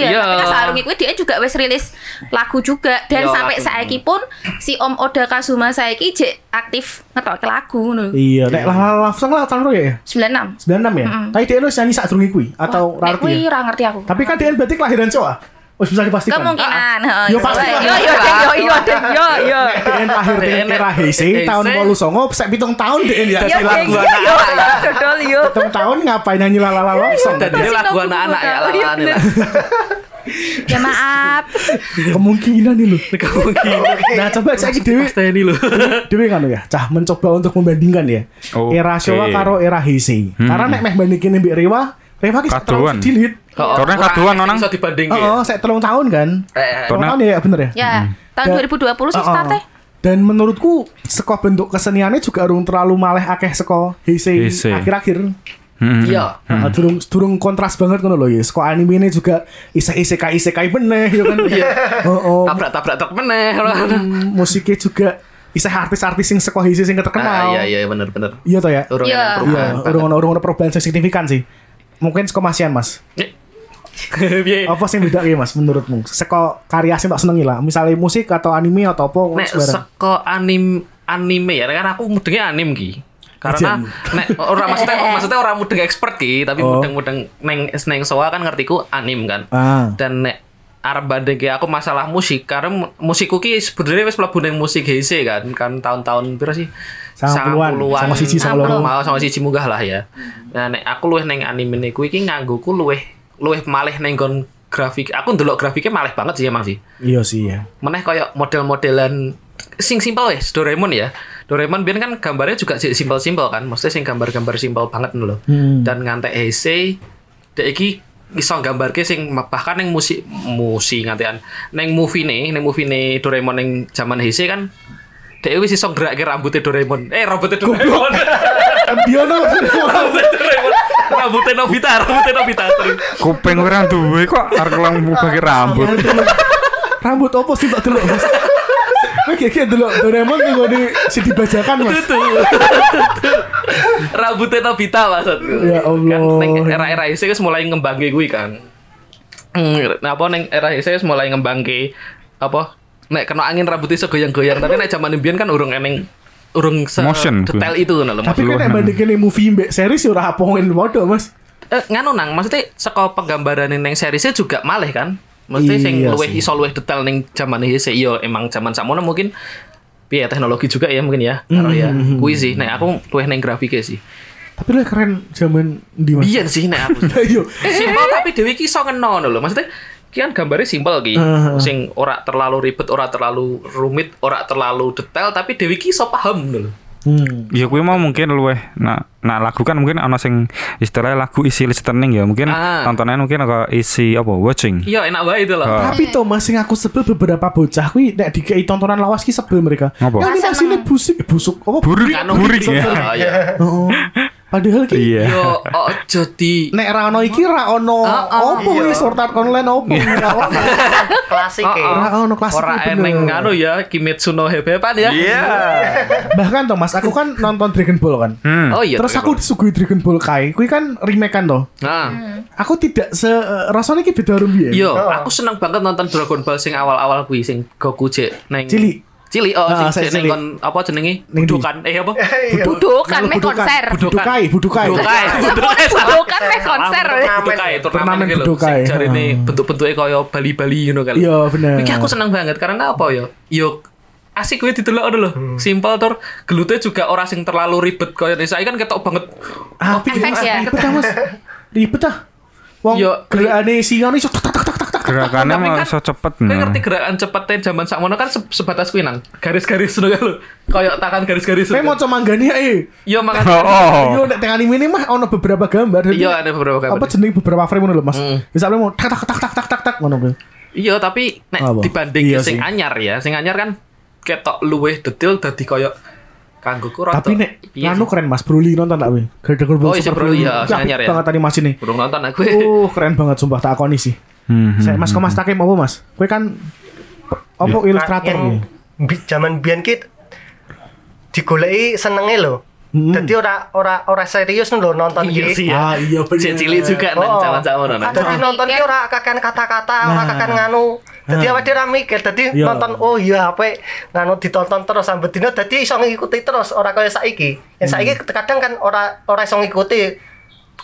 ya. Iya. Tapi kan sarungi kuwi dia juga wis rilis lagu juga dan Iya, sampai lagu. saiki pun si Om Oda Kazumasa iki jek aktif ngetokke lagu ngono. Iya, nek lah lah lah Sang lah tahun roya ya. 96. 96 ya. Tapi dia lu nyanyi sak durunge kuwi atau Nek kuwi Rarti. ora ngerti aku. Tapi kan dia berarti kelahiran Jawa. Wis bisa dipastikan. kemungkinan, heeh. Yo, pasti lah. Yo yo Den, yo yo Den, yo yo. DN Ah, lahir DN di era Heisei tahun Heisei. 89 sek pitung tahun DN Iya. ya dadi Yo Den, lagu yo anak. yo dodol yo. Pitung tahun ngapain nyanyi la la la love song. Dan ini lagu anak-anak ya Oh, iya, lawan bener. Ya maaf. Kemungkinan nih lho. Kemungkinan. Nah, coba saiki dhewe Pasti ini loh. dhewe kan ya, cah mencoba untuk membandingkan ya. Oh, Era oke. Hmm. Showa karo era Heisei. Karena nek meh bandingin mbek Rewa, Rewa ki Kadoan. terlalu sedikit. Karena kaduan, Nonang. Bisa dibandingin. Iya. Heeh, sek telung tahun kan. Eh, Telung Karena- tahun ya bener ya? Ya, tahun Dan- 2020 sih Heeh. start eh. Dan menurutku seko bentuk keseniannya juga urung terlalu maleh akeh seko Heisei Heisei. Hmm. akhir-akhir. Iya. Heeh, durung durung kontras banget ngono lho ya. Seko anime ini juga isek isek kai isek kai beneh ya kan. Iya. Oh, oh. Tabrak-tabrak truk meneh. Musiknya juga isek artis-artis sing seko Heisei sing terkenal. Ah, Iya iya bener-bener. Iya toh ya. Turun Iya. yang perubahan. Iya, urung ono urung ono perubahan sing signifikan sih. Mungkin seko masian Mas. Piye? Apa sing beda ya Mas menurutmu? Seko karya sing tak senengi lah. Misalnya musik atau anime atau apa nek sebarang. seko anim anime ya kan aku mudengnya anim ki karena nek ora maksudnya maksudnya ora mudeng expert ki tapi Oh. mudeng mudeng neng neng soa kan ngertiku anim kan Ah. dan nek Arab banding aku masalah musik karena mu- musikku ki sebenarnya wis mlebu ning musik HC kan kan tahun-tahun pira sih Sangang puluhan, 90-an, sama siji, sama loro. mau sama siji munggah lah ya nah nek aku luwih ning anime niku iki nganggoku luwih luwih malih ning nggon grafik aku ndelok grafiknya malih banget sih emang sih Iya sih ya. meneh kayak model-modelan sing simpel wes Doraemon ya Doraemon biar kan gambarnya juga si- simpel-simpel kan maksudnya sing gambar-gambar simpel banget nih loh Hmm. dan ngantek hese dek iki iso gambarke sing bahkan neng musik musik ngantean neng movie nih neng movie nih Doraemon neng zaman hese kan dek wis iso gerakke rambutnya Doraemon eh rambutnya Doraemon Ambiono. rambutnya Doraemon rambutnya Nobita rambutnya Nobita sorry. Kuping ora duwe kok arek lang bagi rambut. Rambut opo sih tak delok, Mas? Kowe kira-kira delok Doraemon ning ngene sing dibajakan, Mas. Tuh. Rambutnya Nobita maksudku. Ya Allah. Kan neng era-era itu wis mulai ngembangke kuwi kan. Hmm, Nah, apa neng era itu wis mulai ngembangke apa nek kena angin rambutnya iso goyang-goyang tapi nek zaman mbiyen kan urung eneng urung se Motion kuwi. detail itu ngono lho Tapi maksudku. kan nek bandingke ning movie mbek series ya ora apoin modho, Mas. Eh, nganu nang maksudnya saka penggambaran neng seriesnya juga malih kan. Maksudnya sing Iya luwih sih. iso luwih detail neng zaman iki sih iya emang zaman sakmono mungkin piye teknologi juga ya mungkin ya. Karo ya. Hmm. Kuwi sih nek aku luwih neng grafike sih. Tapi lu keren zaman di Mas. Biyen sih nek aku. Lah iya. simpel tapi dewi ki iso ngeno ngono lho. Maksudnya ki kan gambarnya simpel ki. Heeh. Sing ora terlalu ribet, ora terlalu rumit, ora terlalu detail tapi dewi ki iso paham ngono lho. Hmm. Ya kuwi mau mungkin luweh nah, nah lagu kan mungkin ana sing istilah lagu isi listening ya mungkin Ah. tontonan mungkin kok isi apa watching. Iya enak wae itu lho. Ah. Tapi Thomas sing aku sebel beberapa bocah kuwi nek dikei tontonan lawas ki sebel mereka. Ngapa? Nah, animasinya busuk, busuk apa? Burik, Nganu burik gitu. ya. Ah, Iya. Heeh. Padahal ki Iya. Yo ojo di nek ra ono iki ra ono Heeh. opo iki sortan online opo Iya. Iya. ra ono. klasik Oh, oh. ya. Ora ono klasik Ora bener. eneng nganu ya Kimetsu no Hebeban ya. Iya. Bahkan Thomas aku kan nonton Dragon Ball kan. Hmm. Oh iya. Terus aku disuguhi Dragon Ball Kai, kuwi kan remake-an toh. Nah, Hmm. Aku tidak se rasane iki beda rumbi ya. yo Oh. aku seneng banget nonton Dragon Ball sing awal-awal kuwi sing Goku jek neng Cilik. Cili oh Ah, sing saya jek neng cilik. kon apa jenenge? Neng ndi? Budokan. Eh apa? Iya. Iya. Budokan meh Budokan. konser. Budokai, Budokai. Budokai. Budokai. salah. Budokan meh konser. Budokai turnamen Turnamen iki lho. Budokai. Sing jarine Hmm. bentuk-bentuke kaya bali-bali ngono kan. Iya, bener. Iki aku seneng banget karena apa ya? Yo asik gue didelok ngono lho. Hmm. Simpel tur gelutnya juga ora sing terlalu ribet kaya saiki kan ketok banget. Ah, Efek ya. Ribet ah, Mas. Ribet ah. Wong Yo, gerakane singa iso tak tak tak tak tak. Gerakannya Tapi mau kan- iso cepet. Kowe nah. ngerti gerakan cepetnya zaman sakmono kan se- sebatas kuwi nang. Garis-garis ngono kan lho. Kayak tangan garis-garis. Iya, Saya mau coba manggani ae. Yo Oh, mangan. oh. Yo nek teng anime ini mah ono beberapa gambar. Jadi, Iya, ada beberapa gambar. Apa jeneng beberapa frame ngono lho, Mas. Hmm. Misalnya mau tak tak tak tak tak tak tak ngono kuwi. Iya, tapi nek Apa? dibanding Iya sih. sing anyar ya, sing anyar kan ketok luweh detail dadi koyo kanggo ku rada- Tapi nek Iya anu sih. keren Mas Broly nonton tak kuwi. Garden Ball Oh, iya, Super Broly, iya, Kuwi apik anyar ya. Banget animasi nih. Burung nonton aku. Uh, keren banget sumpah tak akoni sih. Hmm, Saya hmm, Iya. Mas kok Mas Takim apa Mas? Kowe kan apa ilustrator Iya. ya? kuwi. Yang bi- zaman biyen ki digoleki senenge lho. Hmm. Dadi ora ora ora serius lho nonton Iya Nah. ki. sih Ah, ya. iya bener. Cek cilik juga nang Oh. zaman-zaman nang. Dadi nonton ki ora kakan kata-kata, ora kakan nganu. Dadi awake dhewe ora mikir, dadi Nah. Iya. nonton oh iya ape nganu ditonton terus sampe dina dadi iso ngikuti terus ora kaya saiki. Yang saiki Hmm. kadang kan ora ora iso ngikuti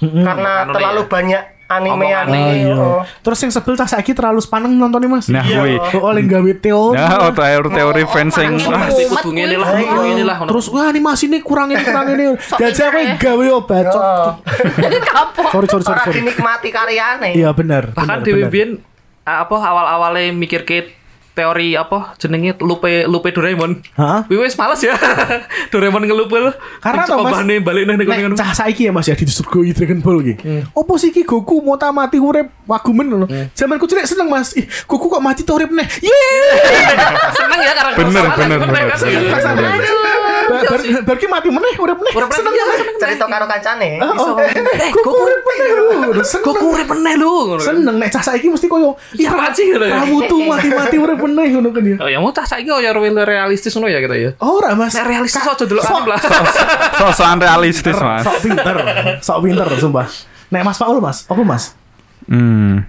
karena Kanune terlalu ya. banyak anime Omongane. Ah, anime. Hmm. iya. oh. Terus yang sebel tak saiki terlalu sepaneng nontonnya Mas. Nah, Iya. woi. Kok oleh gawe teori. Nah, teori-teori Oh, fans yang panggil. wah, Wah, sik kudu ngene lah, kudu ngene lah. Oh, ngono. Terus wah animasi ini kurang ini kurang ini. Jajak kowe pinter ya. gawe obat. Cok. Oh. Iya. Kapok. Sorry sorry sorry. Ora sorry. dinikmati karyane. Iya benar. Bahkan benar, dhewe benar. biyen ah, apa awal-awale mikir ke teori apa jenenge lupe lupe Doraemon. Hah? Kuwi wis males ya. Doraemon ngelupul. Karena Terus toh, Mas, obahane balik nang Nek ngono. cah saiki ya Mas ya disuguhi Dragon Ball iki. Opo sih iki Goku mau tak mati urip wagumen ngono. Zaman ku cilik seneng Mas. Ih, Goku kok mati to urip neh. Ye! Seneng ya karena Bener, kerusakan, bener, kan, bener, kan? bener, bener. Bar bar- bar ki mati meneh iya, urip neh. Urip meneh, Seneng iya, ya. seneng. Cerita karo kancane. Oh, oh. Eh, Goku urip meneh lho. Seneng. Kok urip meneh lu? ngono. Seneng nek cah saiki mesti koyo Iya, apaan sih, ngono ya? Rawutu mati-mati urip meneh ngono kan ya. Oh ya mau tak saiki ya realistis ngono ya kita ya. Ora Mas. Nek realistis Ka- aja delok anime lah. sosokan realistis mas. Sok pinter. Sok pinter sumpah. Nek Mas Paul Mas, apa Mas? Hmm.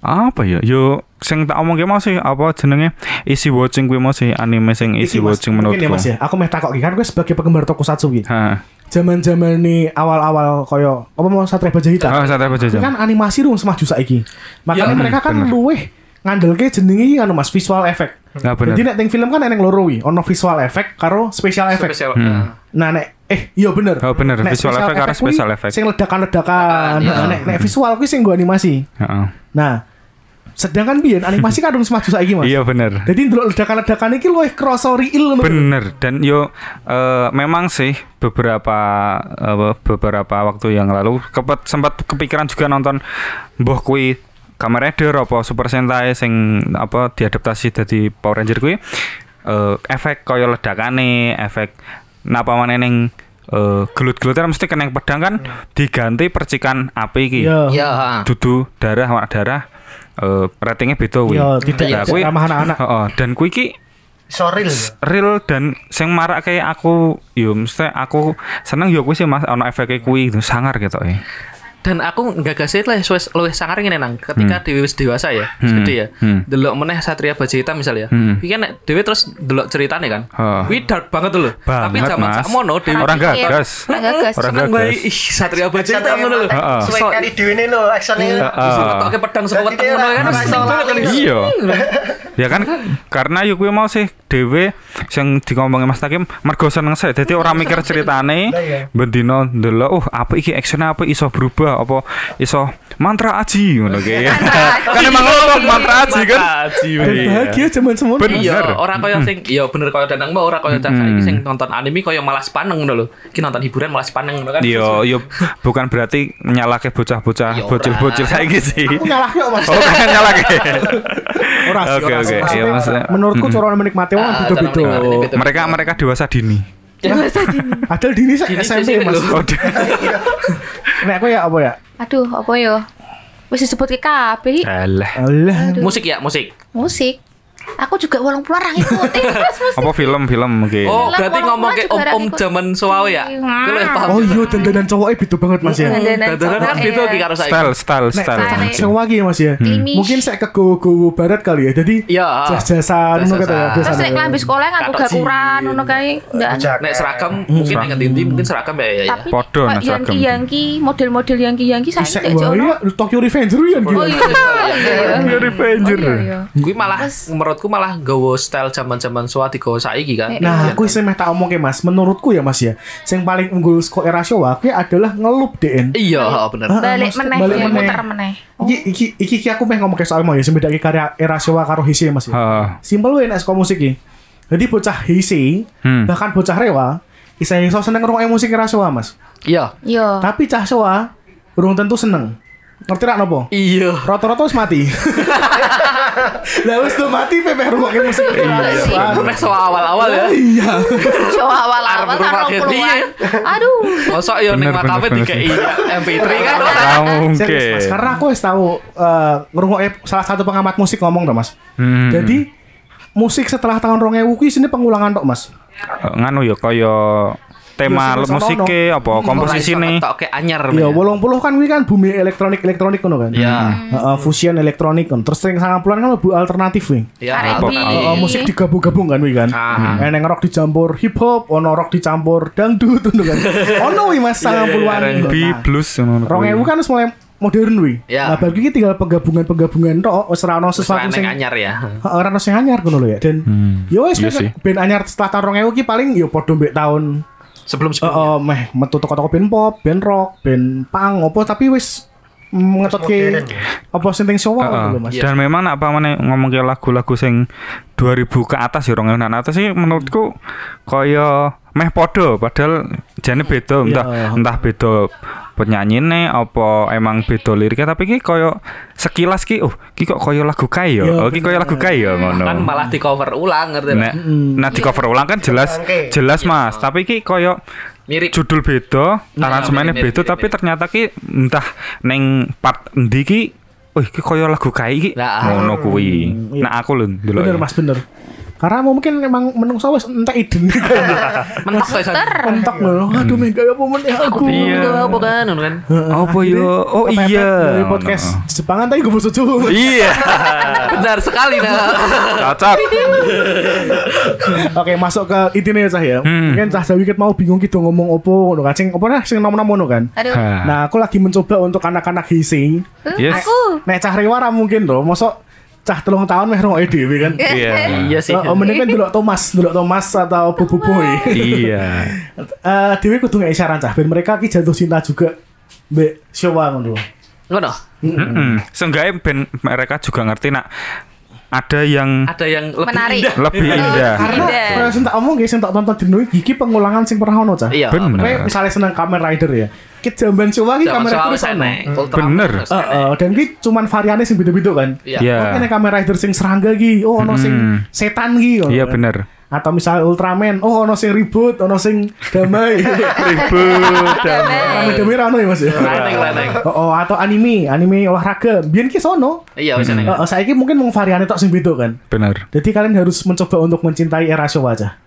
Apa ya? Yo sing tak omongke mau sih apa jenenge isi watching kuwi mau sih anime sing Iki, isi Mas, watching mungkin ya menurutku. Mas ya. Aku meh takok iki, kan gue sebagai penggemar tokusatsu iki. Ha. Zaman-zaman nih awal-awal koyo apa mau Satria Baja Hitam. Oh, saya tahu Ini jam. hmm, kan animasi dong semaju saiki. Makanya Ya, mereka kan luweh ngandelke jenenge iki anu Mas visual effect. Ya, bener. Jadi nek teng film kan eneng loro kuwi, ono visual effect karo special Hmm. effect. Spesial. Nah nek eh iya bener. Oh, bener. Visual effect karo kuwi special effect. Sing ledakan-ledakan. Ledakan, Nah, nek nek visual kuwi sing nggo animasi. Heeh. Nah, sedangkan biyen animasi kan kadung semaju saiki, Mas. Iya bener. Jadi ndelok ledakan-ledakan iki luwih krasa real ngono. Bener dan yo eh, memang sih beberapa eh, beberapa waktu yang lalu kepet, sempat kepikiran juga nonton Mbah kui Kamen Rider apa Super Sentai sing apa diadaptasi dari Power Ranger kui Eh, efek koyo ledakane efek napa maneh ning eh, gelut-gelutnya mesti kena yang pedang kan diganti percikan api iki Hmm. Iya. Ya. dudu darah warna darah eh, ratingnya beda kuwi. Iya, tidak Nah, kuwi- ramah anak-anak. Heeh, dan kui iki Soril. real dan sing marak kayak aku yo mesti aku seneng yo kuwi sih Mas ana efeke kuwi gitu, sangar gitu eh. ya. Dan aku nggak kasih lah suwes luwih sangar ngene nang ketika dewi wis dewasa ya, Hmm. gede ya. Hmm. Delok meneh Satria Baja Hitam misalnya. Hmm. Iki kan nek dewi terus delok ceritane kan. Oh. Kuwi dark banget tuh lho. Tapi Banget, zaman Mas. sakmono dewi Orang Iya. gagas. Orang gagas. Orang seneng gagas. wae ih Satria Baja Hitam ngono lho. Heeh. Suwe So- kali dhewe lo aksone. Terus ngetokke pedang Jadi seweteng dia ngono kan orang- seneng orang- banget kan. Iya. ya kan karena yo kuwi mau sih dhewe sing dikomongi Mas Takim mergo seneng sih. Dadi ora mikir ceritane Lah, iya. bendino ndelok oh apa iki action apa iso berubah apa iso mantra aji ngono kayak. Mantra Kan aji. emang ngono mantra aji kan. Aji, Dan weh. bahagia zaman semua. Bener. Hmm. Iya, orang kaya sing iya bener kaya danang mbak orang kaya cah saiki sing nonton anime kaya malas paneng ngono lho. Ki nonton hiburan malas paneng ngono kan. Yo yo bukan berarti nyalake Ya, bocah-bocah ora. bocil-bocil saiki sih. Aku nyalah yuk, Mas. Oh, kan nyalake. Ora sih, Oke, ora oke. sih. Iya, Maksudnya, maksudnya, Menurutku mm-mm. cara menikmati wong Ah, beda-beda. Iya, cara menikmati beda. Oh, Mereka mereka dewasa dini. Dewasa dini. Padahal dini saya Dini SMP sih, Mas. lho. Oh, de- Nek aku ya apa ya? Aduh, apa yo? Wis disebut ke Eh, kabeh. Alah. Alah. Musik ya, musik. musik aku juga walang pulang orang Eh, ikuti terus musik Apa film-film mungkin? Oh, Lah, berarti kalau ngomong gua ke juga om-om ikut- zaman Swawe ya. Iya. Kuwi paham. Oh iya dandanan cowoknya beda banget Mas ya. Dandanan Dadaran kan cowok, beda iya. iki karo saiki. style style Nek style. Hmm. Tarik. mungkin. sewa lagi ya Mas ya. Klimis. Mungkin saya ke go-go barat kali ya. Jadi Iya. jas-jasan ngono kata ya. Jas-jasan. terus biasanya. nek klambi sekolah ngaku Katok gakuran ngono kae ndak Nek seragam Hmm, mungkin nek ngendi mungkin seragam ya ya. ya. tapi Podo nek seragam. yang yangki model-model yangki yangki saya Isek tidak wae jono ya, Tokyo Revenger ya gitu. oh iya iya iya. Revenger. Oh, iya, iya. Kuwi malah menurutku malah gawa style zaman-zaman Swawa digawa saiki kan. Nah, aku sing meh tak omong Mas, menurutku ya Mas ya, sing paling unggul saka era Showa kuwi adalah ngelup DN. Iya, bener. Ah, balik maksudnya meneh balik ya, meneh. muter meneh Iki iki iki, iki aku meh ngomong ke soal mau ya, sing bedake karya era Showa karo Heisei Mas ya. Heeh. Simpel wae nek saka musik iki. Jadi bocah Heisei, Hmm. bahkan bocah Rewa, isa iso seneng ngrungokke musik era Showa, Mas. Iya. yo Tapi cah Showa urung tentu seneng. Ngerti rak nopo? Iya. Rata-rata wis mati. Lah wis tuh mati pepeh ngrungokke musik era Iya sih. Showa. Nek Swawa awal-awal ya. Iya. show awal-awal Arep tahun rumah 20-an aduh Mosok ya ning Bener, makame bener, dikei Iya. MP3 kan. Ah, Serius, mungkin. Mas. Karena aku wis tahu eh, ngrungokke salah satu pengamat musik ngomong toh, Mas. Hmm. Jadi musik setelah tahun 2000 kuwi sini pengulangan tok, Mas. Eh, nganu ya kaya tema Yo, sing musik wis apa komposisi nih Tokke anyar. Iya, 80 kan kuwi kan bumi elektronik-elektronik ngono kan. Iya. Heeh, fusion elektronik kan. Terus sing 90-an kan lebih alternatif kuwi. Iya. R&B. Heeh, Iya. Oh, musik digabung-gabung kan kuwi kan. Ah. Eneng rock dicampur hip hop, ono rock dicampur dangdut ngono kan. Ono kuwi Mas 90-an. R&B Nah, blues ngono 2000 kan wis mulai modern kuwi. Iya. Nah, bagi iki tinggal penggabungan-penggabungan tok, wis ra ono sesuatu Sesuatu sing Oh. anyar ya. Heeh, ora ono sing anyar ngono lho ya. Dan yo wis nek iya sih. band anyar setelah tahun 2000 iki paling yo padha mbek tahun Sebelum eh sebelum. Iya. eh, meh metu toko-toko band pop, band rock, band punk opo tapi wis ngetutke modern ya. apa sing teng Showa Heeh. iya, ngono lho Mas. Ah, Dan memang nak pamane ngomong ke lagu-lagu sing 2000 ke atas ya 2000 ke atas sih menurutku kaya meh podo padahal jane beda entah entah beda penyanyiine apa emang beda liriknya tapi ki kaya sekilas ki oh ki kok kaya lagu kae ya Iya, oh ki kaya lagu kae ya Kan ngono. malah di cover ulang ngerti Nah, lah. nah di cover ulang kan jelas Oke. jelas Mas, tapi ki kaya Mirip. judul beda, Nah, aransemennya mirip, mirip, beda mirip, tapi mirip. ternyata ki entah neng part endi ki Wih, ki koyo lagu kae iki Nah, ngono kuwi. iya. Nah, aku lho ndelok. Bener ya. Mas, bener. Karena mungkin emang menungso wis entek iden. Mentok ya. San. Entek ngono. Aduh mega apa meneh aku. Hmm. Iya. Enggak, bukan, bukan. Apa yo? Oh Kepepet iya. Dari podcast Jepangan tadi gue bosok Jawa. Iya. Benar sekali nah. Cocok. Oke, masuk ke intine ya Cah ya. Hmm. Mungkin Cah Jawi ket mau bingung gitu ngomong opo ngono kan sing opo nah sing nom-nom ngono kan. aduh Hah. Nah, aku lagi mencoba untuk anak-anak hising. Eh, Yes. aku Nek Cah Rewa ra mungkin loh, mosok cah telung tahun meh rungokke dhewe kan. Iya. Iya sih. Oh, mending kan delok Thomas, delok Thomas atau Bubu Boy. Iya. Eh dhewe kudu ngei saran cah ben mereka ki jatuh cinta juga mbek Showa ngono. Ngono. Mm-mm. Seenggaknya ben mereka juga ngerti nak ada yang Ada yang lebih Menarik. indah. lebih indah. Karena Iya. kalau sing tak omong guys, sing tak tonton dino iki iki pengulangan sing pernah ono cah. Iya. Bener. Kayak misalnya seneng Kamen Rider ya. Ki jamban Showa ki Zaman Kamen soal Rider sana. sana. Ultraman Bener. Ah. terus sana. Heeh, dan ki cuman variannya sing beda-beda kan. Iya. Iya. Oh, kene Kamen Rider sing serangga ki, oh ono sing Mm-mm. setan ki. ngono Iya kan. bener. Atau misalnya Ultraman, oh ono sing ribut, ono sing damai. Ribut. Rame damai ra ono ya Mas. ya? Leneng, leneng. Oh, oh, atau anime, anime olahraga. Biyen ki sono. Iya, wis seneng. Ah, Heeh, saiki mungkin mung variane tok sing beda kan. Bener. Jadi kalian harus mencoba untuk mencintai era Showa aja.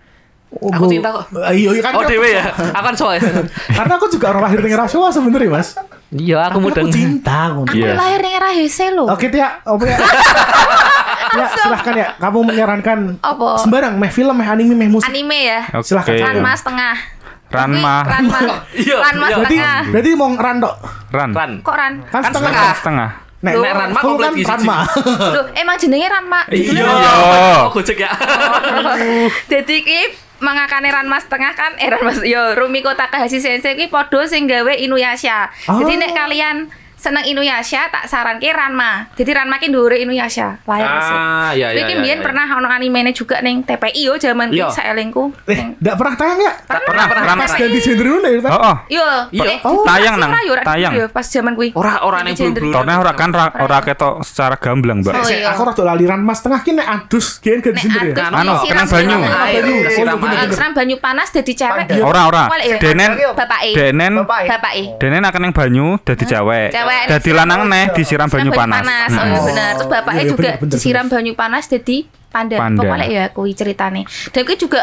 Oh, Aku gua- cinta kok. Eh, Iya, ah. iya kan. Oh dewe ya, akan soalnya. Karena aku juga orang lahir di era Showa sebenarnya, Mas. Iya, aku Tapi mudeng. Aku cinta ngono. Aku Iya. lahir ning era Heisei lho. Oke, Tia. Apa ya? Ya, silahkan ya. Kamu menyarankan Apa? sembarang meh film, meh anime, meh musik. Anime ya. Oke. Silahkan. Ranma setengah. Ranma. Tapi Ranma. Iya, Ranma iya. Berarti, setengah. berarti mau ngeran tok. Ran. Ran. Kok Ran? Kan Kan setengah. setengah. Setengah. Nek Loh, nek Ranma full komplit kan gizi. Ranma. Loh, emang jenenge Ranma. Iya. Oh, gojek ya. Jadi ki mangakane Ranma setengah kan eh Ranma yo Rumiko Takahashi Sensei ki padha sing gawe Inuyasha. Jadi Oh. nek kalian seneng Inuyasha tak saranke Ranma. Jadi Ranma ki ndure Inuyasha. Lahir sih. Ah, iya iya. Iki iya, mbiyen iya. pernah ono animenya juga ning TPI yo jaman ki Iya. saelingku. Eh, ndak pernah tayang ya? Pernah, pernah. Pas ganti genre dulu ya. Tan? Oh, oh. Yo, Iya. nek- Oh, tayang, Sing Nang. ra yo, ra- Tayang. yo, Pas jaman kuwi. Ora- ora ning Gender. blue-blue. Torne ora kan ra- ora ketok secara gamblang, Mbak. Oh, Sek, iya. Aku rada lali Ranma setengah ki nek adus gen ganti Nek genre ya. adus Anu, disiram kena banyu. siram air. Air, kesiram Oh, iya, air. Kalau seram banyu panas jadi cewek. Iya. Ora, ora. Wale, ya. Denen Bapak E. denen Bapak E. Bapak E. denen akan yang banyu dadi cewek. Cewek. Dadi lanang neh disiram Seram Kan banyu panas. Oh, Mm. iya, bener. Terus bapaknya Iya, iya, juga bener, bener, disiram banyu panas jadi panda. Panda. Pokoknya ya aku ceritane. Dan aku juga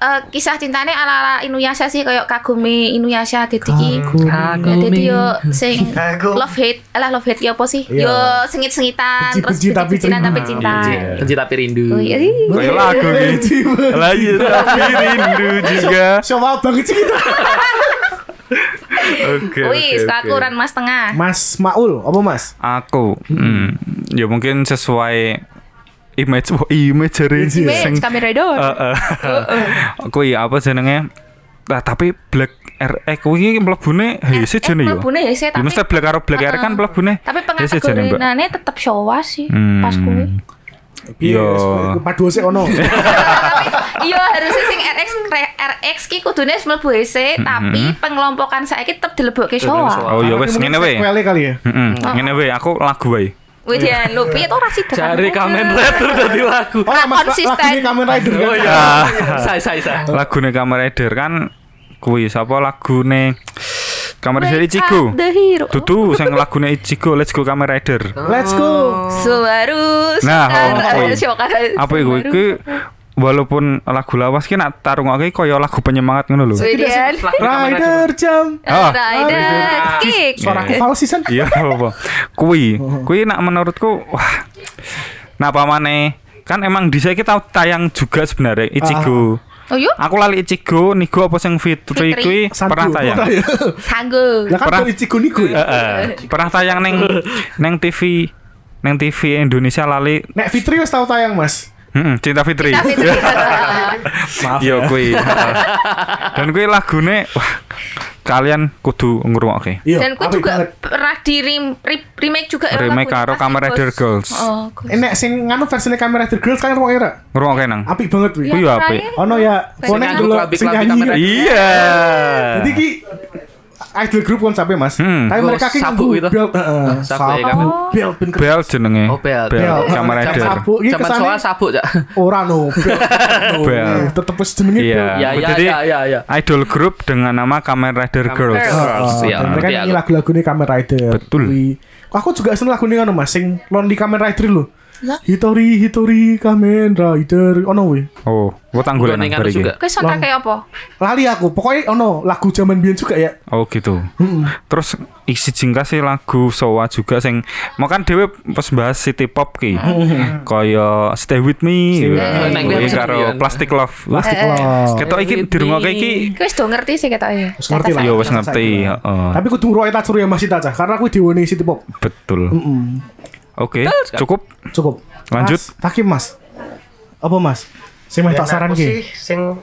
eh, kisah cintanya ala-ala Inuyasha sih kayak Kagumi Inuyasha gitu ki. Ya, jadi yo sing Kagumi. love hate, alah love hate ya apa sih? Iya. Yo sengit-sengitan, terus Benci-benci tapi benci-bencinan tapi cinta. terima. Iya. Benci tapi rindu. Oh, iya. Kayak lagu gitu. Lagi tapi rindu juga. Showa banget sih kita. iya. Oke. Wis, aku ran mas tengah. Mas Maul, apa Mas? Aku, hmm, ya mungkin sesuai image, wah image dari iya. Wis, Kamen Rider. Eh, Aku ya apa jenenge? Nah, tapi Black R, eh kuwi mlebune Heise jene ya. Eh, mlebune Heise, tapi- Ya, mesti Black karo Black R kan mlebune. Tapi Heise jene, Mbak. pengategorinane tetep Showa sih Hmm. pas kuwi. Iya. Padu sik ono. Iya harusnya sing RX kre- RX ki kudune wis mlebu EC Hmm, tapi pengelompokan saiki tetep dilebokke Showa. Oh ya wes Mungkin ngene we. sequelnya kali ya. Heeh, ngene we aku lagu wae. Iya. Widian lho piye to ora sida. Cari Kamen Rider dadi lagu. Oh, Mas konsisten. lagi ini Kamen Rider kan. Oh iya. Sai sai sai. Lagune Kamen Rider kan kuwi sapa lagune Kamen Rider Wake Ichigo. up the hero. Dudu sing lagune Ichigo Let's Go Kamen Rider. Let's Oh. go. Subaru. Nah, oh, Subaru, kuwi. Showa, apa iku Subaru. iki walaupun lagu lawas ki nak tarungoke kaya lagu penyemangat ngono lho. Widian. Lagu Kamen Rider jam. Ah. Rider kick. Suaraku falsis kan. Iya apa. Kuwi, kuwi nak menurutku wah. Napa maneh? Kan emang dhisik ki tau tayang juga sebenarnya Ichigo. Oh yo Aku lali Ichigo, Nigo apa sing Fitri. Fitri kuwi Sandu. pernah tayang. Ora ya? sanggup. Lah kan Pernah. dari Cigo niku ya. Heeh. Pernah tayang neng neng TV neng TV Indonesia lali Nek Fitri wis tau tayang, Mas. Mm-mm, Cinta Fitri. Tapi Maaf. Yo kuwi. Heeh. Dan kuwi lagune wah kalian kudu ngrungokke. Iya, dan apik aku juga banget. pernah di rem- re- remake juga Eh, ya, Remake lagunya karo pasti, Kamen Rider Bos. Girls. Oh, Gus. Eh, Nek sing nganu versine Kamen Rider Girls kan ruang era. Ngrungokke nang. Apik banget wi. Kuwi Iya, apik. Rai. Ono ya, Sing konek nganggo dulu kelabik-kelabik sing nyanyi. Kamen Rider. Iya. ya? Jadi ki idol grup kan sampai mas, Hmm. tapi Oh, mereka ki sapu nganggo gitu. belt, heeh, Sapu ya, sapu, Kamen. belt, ben Bel jenenge. Oh, Bel. Bel Bel. Kamen Jam Rider. sapu. Iki Zaman kesane- soal sabuk ya. Ora no, belt, no. Bel. tetep wis jenenge Iya. belt. Ya ya Jadi- ya ya ya. Idol group dengan nama Kamen Rider Girls. Girls. Heeh, Iya, Ah, dan mereka ngerti nyanyi aku. lagu-lagu ini Kamen Rider. Betul. Kuwi. Aku juga seneng lagu ini kan mas, sing Lonely Kamen Rider lho. Hitori, Hitori, Kamen Rider, ono wi. Oh, gua tanggul nang Gorengan bar iki. juga. Kuwi soundtrack kayak apa? Lali aku, pokoknya ono lagu zaman biyen juga ya. Oh gitu. Terus isi jingkas sih lagu Sowa juga sing mau kan dhewe pas bahas city pop ki. Kaya Hmm. Stay With Me. ya. With Me. Kuwi Nah, karo iya. Plastic Love. Wah, Plastik lah. ketok iki With dirungokke Me. iki Kuwi wis do ngerti sih ketoknya. Wis ngerti lah. ya wis Masa ngerti, saiki lah. heeh. Tapi kudu roe ya, Hmm. Tatsuya Masita cah, karena aku diwoni City Pop. betul. Mm-mm. Oke, cukup. Cukup. Lanjut. Mas, Takim mas. Apa mas? Sing meh Yen tak saran aku sih ki. sing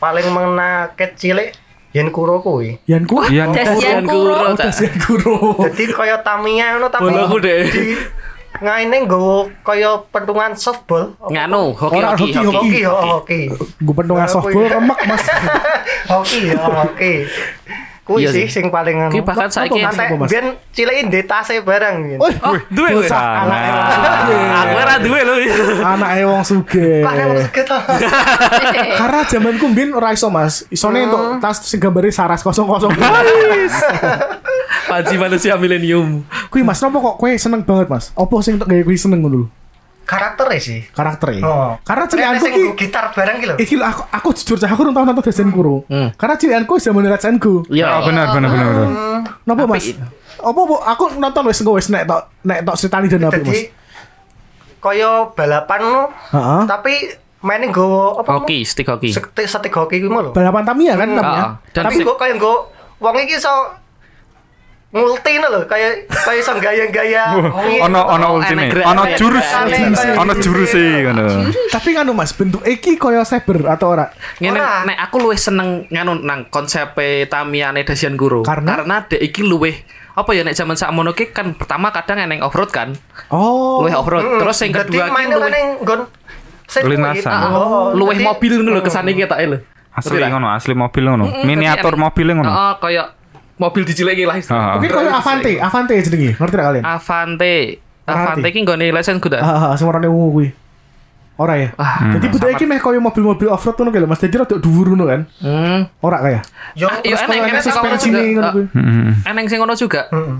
paling mengena cilik yen kuro kuwi. Yan ku. Yan Das Yan Kuro. Kuro, Cak. Yan kuro. Dadi kaya Tamiya ngono tapi Bola aku deh. di ngaine nggowo kaya pentungan softball. Nganu, hoki Orang hoki hoki, hoki. Hoki ho hoki. Gue pendengar softball remek mas. Hoki ho hoki. Kuwi Iya sih sih. sing paling ngono. Ki bahkan saiki Apa, Mas? Ate biyen cilike e ndetase barang biyen. Oh, Oh, duwe lho. e Salah. Ah. Ah. Aku ora duwe lho. anak ewang suge. Pakai maksud kita. Karena zaman ku mbien ora iso mas. Isone untuk tas sing gambare saras kosong kosong. Panji manusia milenium. Kui mas, nopo kok kue seneng banget mas? Opo sing untuk gaya kui seneng ngono dulu Karaktere sih. karakternya. Oh. gitu. Karena Ternyata cilianku sing ki. nggo gitar bareng ki lho. Iki lho, aku aku jujur cah aku rung tau nonton Desen Kuro. Hmm. Karena cilianku zaman rasanku. Oh, Iya. benar benar benar. benar. Nopo mas? Opo opo aku nonton wis engko wis nek tok nek tok ceritani dan apa mas. Dadi kaya balapan no, Heeh. tapi mainin nggowo apa? Hoki, stick hoki. Setik setik hoki kuwi lho. Balapan Tamiya kan namanya. Ah, dan si- tapi gue kayak gue wong iki iso ngulti ngono lho kayak kayak iso gaya-gaya Oh, Iya. ono ono ultime, enek, ono enek, jurus, enek, enek. ono jurus sih ngono. Tapi kan mas bentuk iki koyo cyber atau ora? Ngene Ora. nek aku luwih seneng nganu nang konsep Tamiyane Dasian Guru. Karena? dek iki luwih apa ya nek zaman sakmono ki kan pertama kadang eneng off-road kan. Oh. Luwih off-road. Mm-mm. Terus yang Dadi kedua ki mainnya luwih kan yang nggon sirkuit. Lintasan. Oh, Ah, oh, luwih dadi- mobil ngono lho kesane ki tak lho. Asli Ngerti lah? ngono, asli mobil ngono. Mm-mm, tapi Miniatur enek. mobil ngono. Heeh, kaya ah, mobil diciliki lah. Heeh. Mungkin koyo Avante, Avante jenenge. Ngerti gak Ah. kalian? Avante. Ngerti. Avante ki nggone lesen kuda. Heeh, heeh, sing warnane ungu kuwi. Ora ya? Ah, Jadi bentuk iki meh koyo mobil-mobil off-road ngono kae lho, Mas. Jadi rada dhuwur ngono kan. Hmm. Ora kaya. Yo, Ah, yo terus enek, enek, kalau enek enek, sing enek. kamu- Pensi ngono kuwi. Oh. Mm-mm. Eneng sing ngono juga. Mm-mm.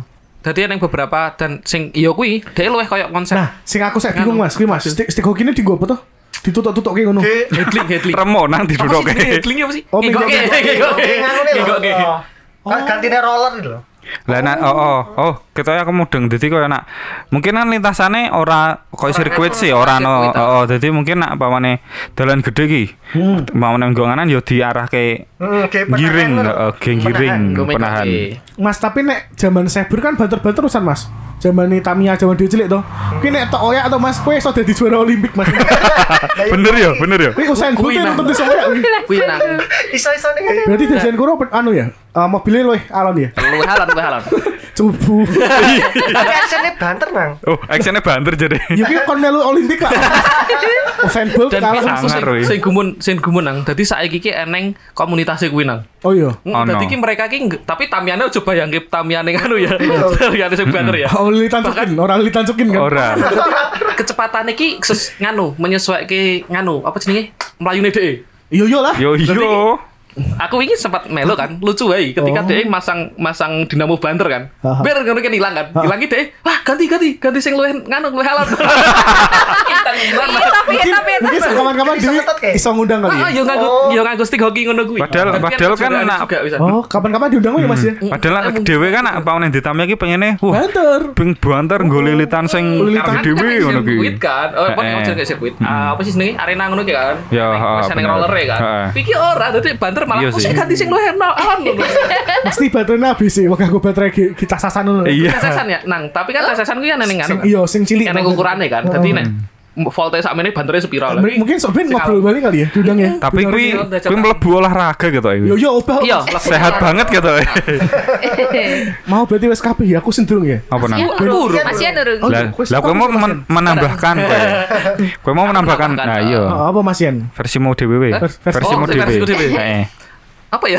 Dadi eneng beberapa dan sing iya kuwi dhek luwih koyo konsep Nah, sing aku saya bingung Mas, kuwi Mas. Stick stick hokine dienggo apa tuh? Ditutuk-tutukke ngono. Di- headling headling. Remo nang didudukke. Apa sih jenenge headling apa sih? Oh, Ngigok, minggoke. ngigok, Kayak nganu nih lho, ngigok, ngigok. oh. Kan gantine roller gitu lho Lah nak oh oh oh ketoknya aku mudeng dadi koyo nak mungkin kan lintasane ora koyo sirkuit sih ora no. sirkuit, Oh, oh dadi mungkin nak pamane dalan gedhe ki. Pamane nggo nganan yo diarahke Hmm, kayak penahan giring, lho. heeh, geng giring Ngigok, ngigok. penahan. Mas tapi nek zaman cyber kan banter-banter urusan Mas. Zaman Tamiya zaman dia cilik toh. Kuwi nek tok oyak toh Mas, kowe iso dadi juara olimpik Mas. Lah, Bener ya, bener ya. Kuwi usain Kuwi, Bolt Mas. nonton iso oyak kuwi. Kuwi nang Iso-iso nih Berarti desain kuro anu ya? Eh, mobilnya loh alon ya? lu halon lu halon. Cubu. Tapi actionnya banter nang Oh, actionnya banter jadi. Ya ki kon melu Olimpik lah. Usain Bolt Dan kalah aku langsung. sangar. weh. sing sing gumun sing gumun nang. Dadi saiki ki eneng komunitas kuwi nang. Oh iya. Mm, Oh, no. Dadi ki mereka ki nge- tapi tamyane coba yang ki tamyane anu ya. Tamyane sing banter ya. Oh, Lili Tansukin, orang Lili Tansukin kan. Ora. Kecepatan iki ses- nganu menyesuaikan nganu apa jenenge? Melayune dhek. Iya iya lah. Yo yo. Aku ini sempat melo kan, lucu wae Oh. ketika dia masang masang dinamo banter kan. Aha. Biar ngono kan hilang kan. Hilang ki dhek, wah ganti ganti ganti sing luwih nganu luwih halal. Iya tapi ya Mungkin, tapi ya mungkin tapi. kawan-kawan Bisa Dewi ngetot kayak. iso ngundang kali Ah, ya. yo Oh. nganggo yo nganggo stick hoki ngono kuwi. Padahal- Dan padahal kan kejuaraan nak- juga bisa. Oh, kapan-kapan diundang ya Mas ya. Padahal Mm. dhewe kan nak pamane ditami ki pengene wah Banter. ping banter nggo lilitan sing Lilitan. dhewe ngono ki. sirkuit kan oh apa Heeh. Hmm. yang kayak sirkuit Ah, apa sih senengnya arena ngono ki kan Ya, Neng- ha, wes neng bener. roller ya kan Heeh. pikir ora tadi banter malah Iya aku sih. sih ganti sing luwih enak alam ngono Mesti baterainya habis sih, wakah gue baterai ki- kita sasan dulu. Iya. tesesan ya nang tapi kan tesesan ku kan neng kan Iya, sing cilik. neng ukurannya kan jadi nek voltage sak meneh banternya M- spiral Oh. Mungkin sok ben ngobrol balik kali ya, diundang ya. Tapi Diundang kuwi ya. kuwi mlebu olahraga gitu ae. Yo yo obah. iya Mas. Sehat banget gitu ae. Mau berarti wes kabeh ya, aku sendung ya. Apa nang? Aku urung. Mas Ian urung. Oh, Lah, kuis- lah kowe mau kuis- men- menambahkan kowe. Kowe mau menambahkan. menambahkan, Nah, ah. iya. Oh, apa Mas Yan? Versimu dhewe. Hah? Versimu Oh, versiku dhewe. dhewe. Heeh. apa ya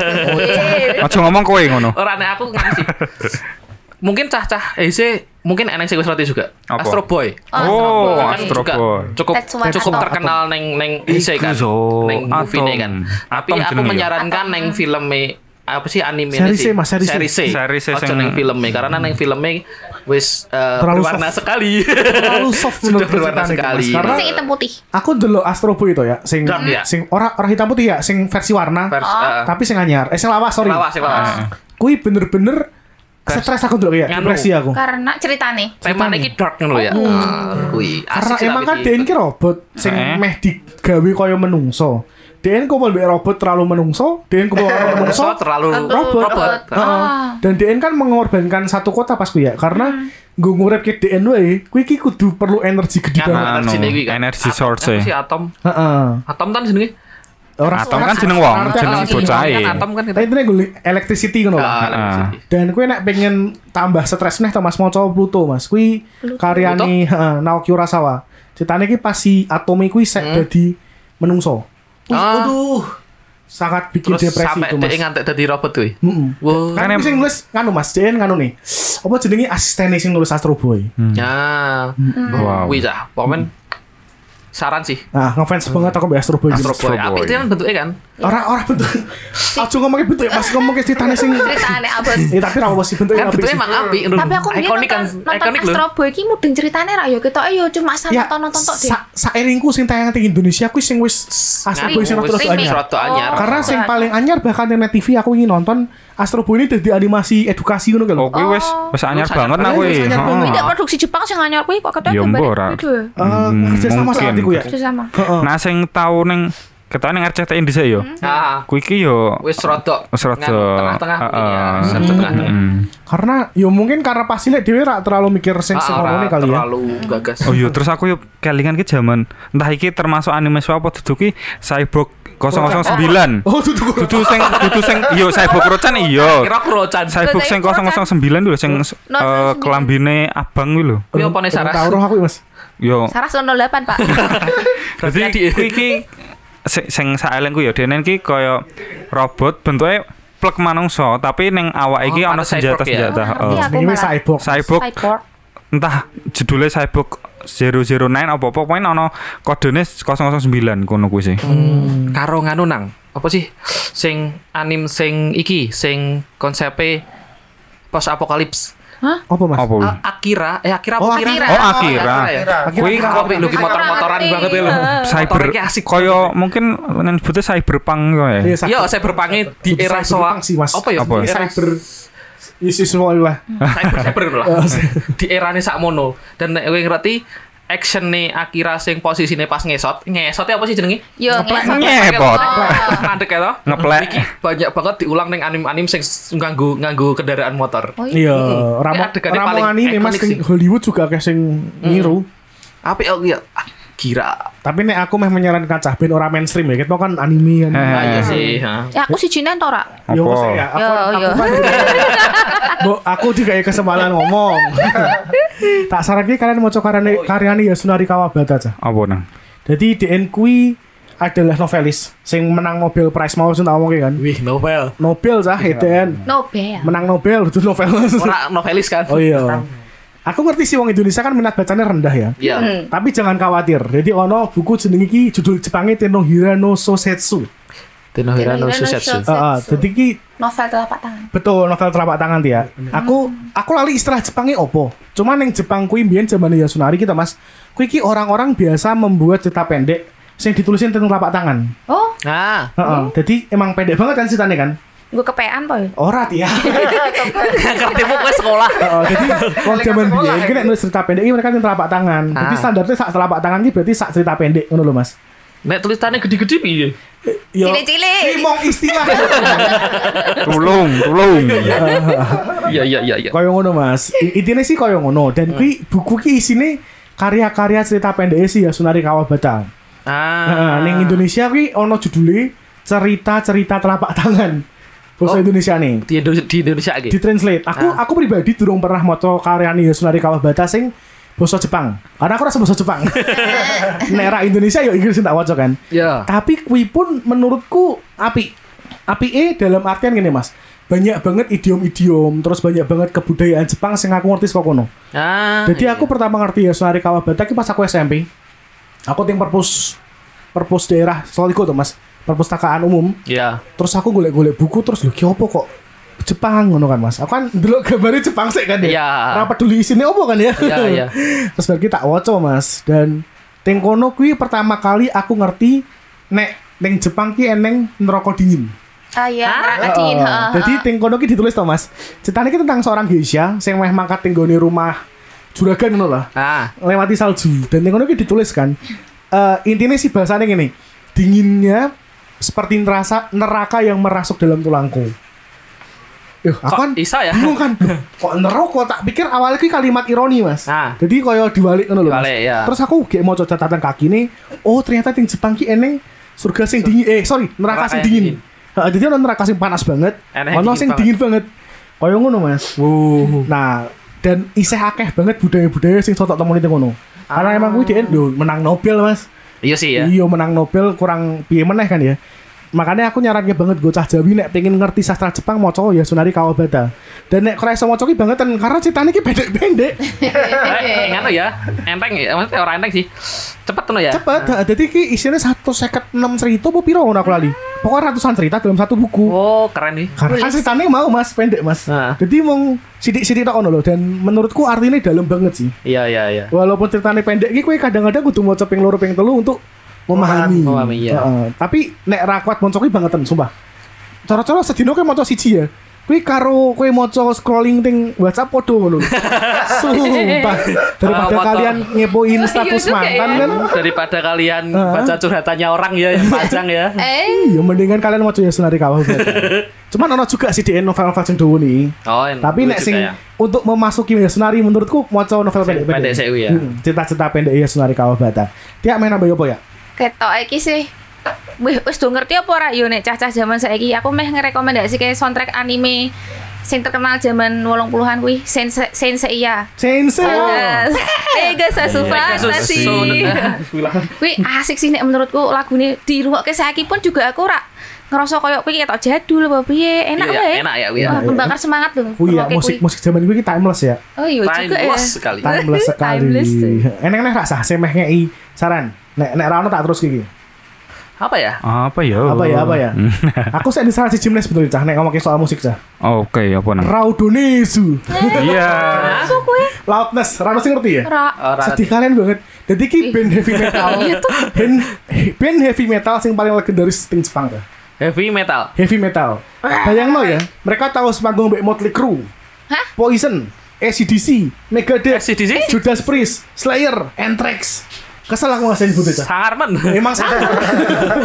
Iya. Aja ngomong kowe ngono. ora nek aku ngerti sih mungkin cah-cah EC mungkin enek sing wis roti juga Apa? Astro Boy Kan Astro Oh, Boy. Astro juga Boy. cukup That's one cukup atom. terkenal neng neng isi kan Iku so, neng movie ini kan atom. tapi Atom aku jenenge ya? menyarankan neng film apa sih anime Series e, Mas, series e. series e. Series e Ojo sing- neng filmnya karena neng filmnya wis eh, Terlalu berwarna soft. sekali Terlalu soft sudah menurut berwarna ceritanya, sekali Mas. Karena- Sing hitam putih. Aku dulu Astro Boy itu ya, sing Dark, ya? sing ora ora hitam putih ya, sing versi warna. Vers- eh, Tapi sing anyar, eh sing lawas sorry. lawas sing Ah. lawas Kui bener-bener stres aku dulu ya, Nganu. depresi aku. Karena ceritane. tema Ceritanya. ini dark ngono ya Ah, kui Karena Asik sih emang kan tapi dia ini robot sing Eh. meh digawe kaya menungso. DN kumpul mbek robot terlalu menungso, DN kumpul orang menungso. So, terlalu Robot. robot. Robot. Heeh. Hmm. Ah. Dan DN kan mengorbankan satu kota pas kuya karena gue ngurep ke DN wae, kuwi iki kudu perlu energi gede Nganu, banget. Nah. energi Anu, ini kan. energy Atom- source, apa ya. sih, atom. Heeh. Atom kan jenenge. Orang- Atom orang- kan jeneng wong, orang- jeneng orang- Energi, bocah e. kan atom kan kita. Tapi ini gue electricity ngono lah. Ah, energi. Dan kue nek pengen tambah stres nih Mas Moco Pluto Mas. Kui karyane heeh, Naoki Urasawa. Ceritanya ki pas si Atomi kui sek dadi menungso. Wih, Ah. Aduh. Sangat bikin Terus depresi sampai itu Mas. dia ngantek dadi robot kuwi. Heeh. Wow. Kan Kan kuwi em- sing nulis nganu Mas, Jen nganu nih. Apa jenenge asistennya sing nulis Astro Boy. Ya. Wow. Kuwi sah. Pokoknya saran sih. Nah, Oh, ngefans iya. banget aku mbak Astro Boy. Iya, Astro Astro Boy. Boy. Apik dia kan bentuknya kan. Orang orang bentuk. Aja ngomongin bentuk ya, Mas ngomongin ceritanya sing. ceritane abot Eh tapi ra apa sih bentuknya Kan apik bentuknya sih. emang apik. tapi aku mungkin ikonik kan. nonton, nonton Ikonik Astro loh. Boy ki mudeng ceritane ra yo ketok yo cuma Ya, nonton nonton tok deh sa sairingku sing tayang di Indonesia kuwi sing wis Astro Boy sing Nah, Wis terus remake. anyar. Rotok anyar. Oh. Karena sing paling anyar bahkan di net TV aku ingin nonton Astro Boy ini dari animasi edukasi ngono Eh, kalau. Oh, kuwi wis wis anyar Wis anyar banget nah banget, kuwi. wis anyar banget. Ini Heeh. produksi Jepang sing anyar kuwi kok ketok Ya gambar mbok ora. video. Hmm, kerja sama saat mungkin. iku ya. Itu sama. Heeh. Nah sing tau ning ketane ning RCTI dhisik e, yo. Ah. Kuwi iki yo Wis rodok. Wis rodok. nganu, Tengah-tengah. Heeh. iya, serbu tengah-tengah. Hmm. Karena ya mungkin karena pas lihat dhewe ra terlalu mikir sing Ah, sing ora ngono kali ya. Terlalu gagas. Oh iya, terus aku yo kelingan ki jaman entah iki termasuk anime apa dudu ki Cyborg 009. Oh, tuh tuh. Dudu sing dudu sing iya Cyborg Rocan iya. Kira aku rocan. Cyborg sing 009 lho sing eh, kelambine abang kuwi lho. Kuwi opone Saras. Tahu roh aku Mas. Yo Saras 08 Pak. Jadi Jadi- kuwi iki si- sing saeleng ku ya denen ki kaya robot bentuke plek manungsa tapi ning awake iki Oh, ana pantes cyborg ya? senjata-senjata. Oh, heeh. ngerti aku. Ini wis malah. cyborg. Cyborg Cyborg. entah judulnya Cyborg 009 apa apa poin ana kodene 009 kono kuwi sih. Hmm. Hmm. Karo nganu nang. Apa sih? Sing anim sing iki, sing konsepe post apokalips. Apa Mas? Apa kuwi? A- Akira, eh Akira Hmm. Oh, apa Akira? ya. Oh, Akira. Kira. Kuwi Kira kok kopi lu ki Aku motor-motoran ngerti. banget ya lu. cyber Motornya asik. kaya mungkin nyebutnya cyberpunk kok ya. Iya, sak- Iya, saya berpangi di Kudu era cyberpunk soa. sih, Iya, Mas. Hmm. Apa ya? Apa? Ini Era cyber isu semua lah. cyber cyber gitu lah. Di erane sakmono. Dan nek kowe ngerti action nih Akira sing posisine pas ngesot. Ngesotnya apa sih jenenge? Yo ngesot. Ngepot. Mandek ya toh. Ngeplek. Iki banyak banget diulang ning anim-anim sing nganggu nganggu kendaraan motor. Oh, Iya, Ini Ramo adegannya Ramo paling anime Mas ikonik sing sih. Hollywood juga kayak sing niru. Apik oh iya. Ah, Kira. Tapi nek aku meh menyarankan cah ben ora mainstream ya. Kita kan anime kan. Eh. Ah iya sih. ha. Ya aku si Jinen to ra. Yo, Apa? maksudnya aku, Yo aku yo. kan Mbok, aku dikai kesempatan ngomong. tak saranke kalian mau karyane karyane ya Sunari Kawabata aja. Apa nang? Jadi DN kui adalah novelis sing menang Nobel Prize mau sun ngomong kan. Wih, novel. Nobel cah DN. Nobel. Menang Nobel itu novel. Ora novelis kan? oh iya. Aku ngerti sih wong Indonesia kan minat bacanya rendah ya. Hmm. Iya. Tapi jangan khawatir. Jadi ono buku jenenge iki judul Jepangnya Tenohira no Sosetsu. Tenohira no Tenohira no Susetsu. Susetsu. Heeh, jadi ki Novel telapak tangan. Betul, novel telapak tangan ya. Aku aku lali istilah Jepangnya opo. Cuman yang Jepang kui mbiyen zamane Yasunari kita Mas. Kui ki orang-orang biasa membuat cerita pendek sing ditulisin tentang telapak tangan. Oh, Nah, Heeh. Jadi emang pendek banget kan ceritanya kan? gue kepean to. Ora ya. ketemu ke sekolah. Heeh, Oh, jadi wong zaman biyen ki nek nulis cerita pendek iki mereka tentang telapak tangan. Jadi Ah. standarnya sak telapak tangan ki berarti sak cerita pendek ngono lho Mas. Nek tulisannya gede-gede Iya, piye? Yo, Cilik-cilik. ki mong istilah. Tulung, tulung. Iya iya iya iya. Koyo ngono Mas. I- Intinya sih koyo ngono dan Ah. kui buku ki isine karya-karya cerita pendek si Yasunari Kawabata. Nah, Ah. ning Indonesia kuwi ono judule cerita-cerita telapak tangan. Bahasa Oh. Indonesia nih. di Indonesia di Indonesia lagi. Ditranslate. Aku Ah. aku pribadi durung pernah maca karyane Yosunari Kawabata sing basa Jepang. Karena aku rasa basa Jepang. Nek ra Indonesia ya Inggris sing tak waca kan. Ya. Tapi kui pun menurutku api. Apike dalam artian gini Mas. Banyak banget idiom-idiom, terus banyak banget kebudayaan Jepang sing aku ngerti saka kono. Ah. Jadi iya. aku pertama ngerti ya Sunari Kawabata ki pas aku SMP. Aku tim perpus perpus daerah Soliko tuh Mas, perpustakaan umum. Iya. Terus aku golek-golek buku terus lho ki opo kok Jepang ngono kan Mas. Aku kan delok gambare Jepang sih kan ya. Iya. Ora peduli isine opo kan ya. Iya, iya. terus bagi tak waca Mas dan teng kono kuwi pertama kali aku ngerti nek ning Jepang ki eneng neraka dingin. Ah iya, neraka Heeh. dingin, heeh. Jadi ting kono ki ditulis to Mas. Ceritanya ki tentang seorang geisha sing meh mangkat tinggo rumah juragan ngono lah Ah. lewati salju dan yang ngono ki ditulis kan Eh intinya sih bahasanya gini dinginnya seperti nerasa neraka yang merasuk dalam tulangku. Yuh, aku kan bisa ya? bingung kan. Loh, kok neraka tak pikir awalnya ki kalimat ironi, Mas. Nah. Jadi koyo diwalik ngono lho, Mas. Diwalik, ya. Terus aku gek mau catatan kaki nih. Oh, ternyata ting Jepang ki eneng surga sing dingin. Eh, sorry, neraka, Neraka sing yang dingin. dingin. Heeh, jadi ono neraka sing panas banget, Eneh ono dingin sing banget. dingin banget. Koyo ngono, Mas. Nah, dan isih akeh banget budaya-budaya sing sotok temoni teng ngono. Karena emang kuwi dhek lho, menang Nobel, Mas. Ah. Iya sih ya. Iya menang Nobel kurang piye meneh kan ya. Makanya aku nyaranke banget gocah Jawi nek pengen ngerti sastra Jepang maca ya Sunari Kawabata. Dan nek kira iso maca ki bangetan karena ceritanya ki pendek-pendek. Eh, ngono ya. Enteng ya, maksudnya orang enteng sih. Cepet ngono ya. Cepet. Nah. Dadi ki isine 156 cerita apa piro ngono aku lali. Pokoknya ratusan cerita dalam satu buku. Oh, keren nih. Karena kan ceritanya mau Mas pendek Mas. Nah. Jadi mung sidik-sidik tok ngono lho dan menurutku artinya dalam banget sih. Iya, iya, iya. Walaupun ceritanya pendek iki kowe kadang-kadang kudu maca ping loro ping telu untuk memahami. Memahami, iya. Heeh. tapi nek rakwat maca ki bangetan sumpah. Cara-cara sedino kowe maca siji ya. Kuwi karo kowe maca scrolling ting WhatsApp podo ngono. sumpah. Daripada Ah, foto. kalian ngepoin Iya status juga mantan ya. kan. Daripada kalian Ah. baca curhatannya orang ya, yang panjang ya. Eh, Iya mendingan kalian maca Yasunari Kawah. Cuman ono juga sih di novel-novel sing dawa nih. Oh, en- Tapi lucu nek sing ya. untuk memasuki Yasunari menurutku maca novel Sing pendek-pendek. pendek sewu ya. Hmm, Cerita-cerita pendek Yasunari Kawabata. Dia main nambah apa ya? ketok iki sih. Wih, wis do ngerti apa ora yo nek cah-cah zaman saiki. Aku meh ngerekomendasike soundtrack anime sing terkenal zaman 80-an kuwi, Sense Senseiya. Sensei. Ada Ega Sasufa Ega Nasi. Sasufa. Kuwi asik sih nek menurutku lagune dirungokke saiki pun juga aku ora ngerasa koyo kuwi ketok jadul apa piye. Enak Iya, wae. enak ya, kuwi ya. Wah, Membakar semangat lho. Oh iya, ngrungokke musik kuwi. musik zaman gue kita timeless ya. Oh iya juga ya. Timeless sekali. Timeless sekali. Timeless. Enak enak rasa saya meh ngei saran. Nek nek rano tak terus gigi. Apa ya? Apa ya? Apa ya apa ya? Oh. Aku saya disaran si Jimnes betul cah nek ngomongin soal musik cah. Oke, apa nang? Raudonezu. Iya. Apa kuwi? Loudness, Rano sih ngerti ya? Ora. Orang Sedih kalian banget. Jadi ki band heavy metal. Iya tuh. band, band heavy metal sing paling legendaris ting Jepang cah. heavy metal. Heavy metal. Bayang ya, mereka tahu sepanggung Mbak Motley Crue. Hah? Poison, ACDC, Megadeth, ACDC? Judas Priest, Slayer, Anthrax. Kesel aku ngasain butuh cah. Sangar men. Emang sama.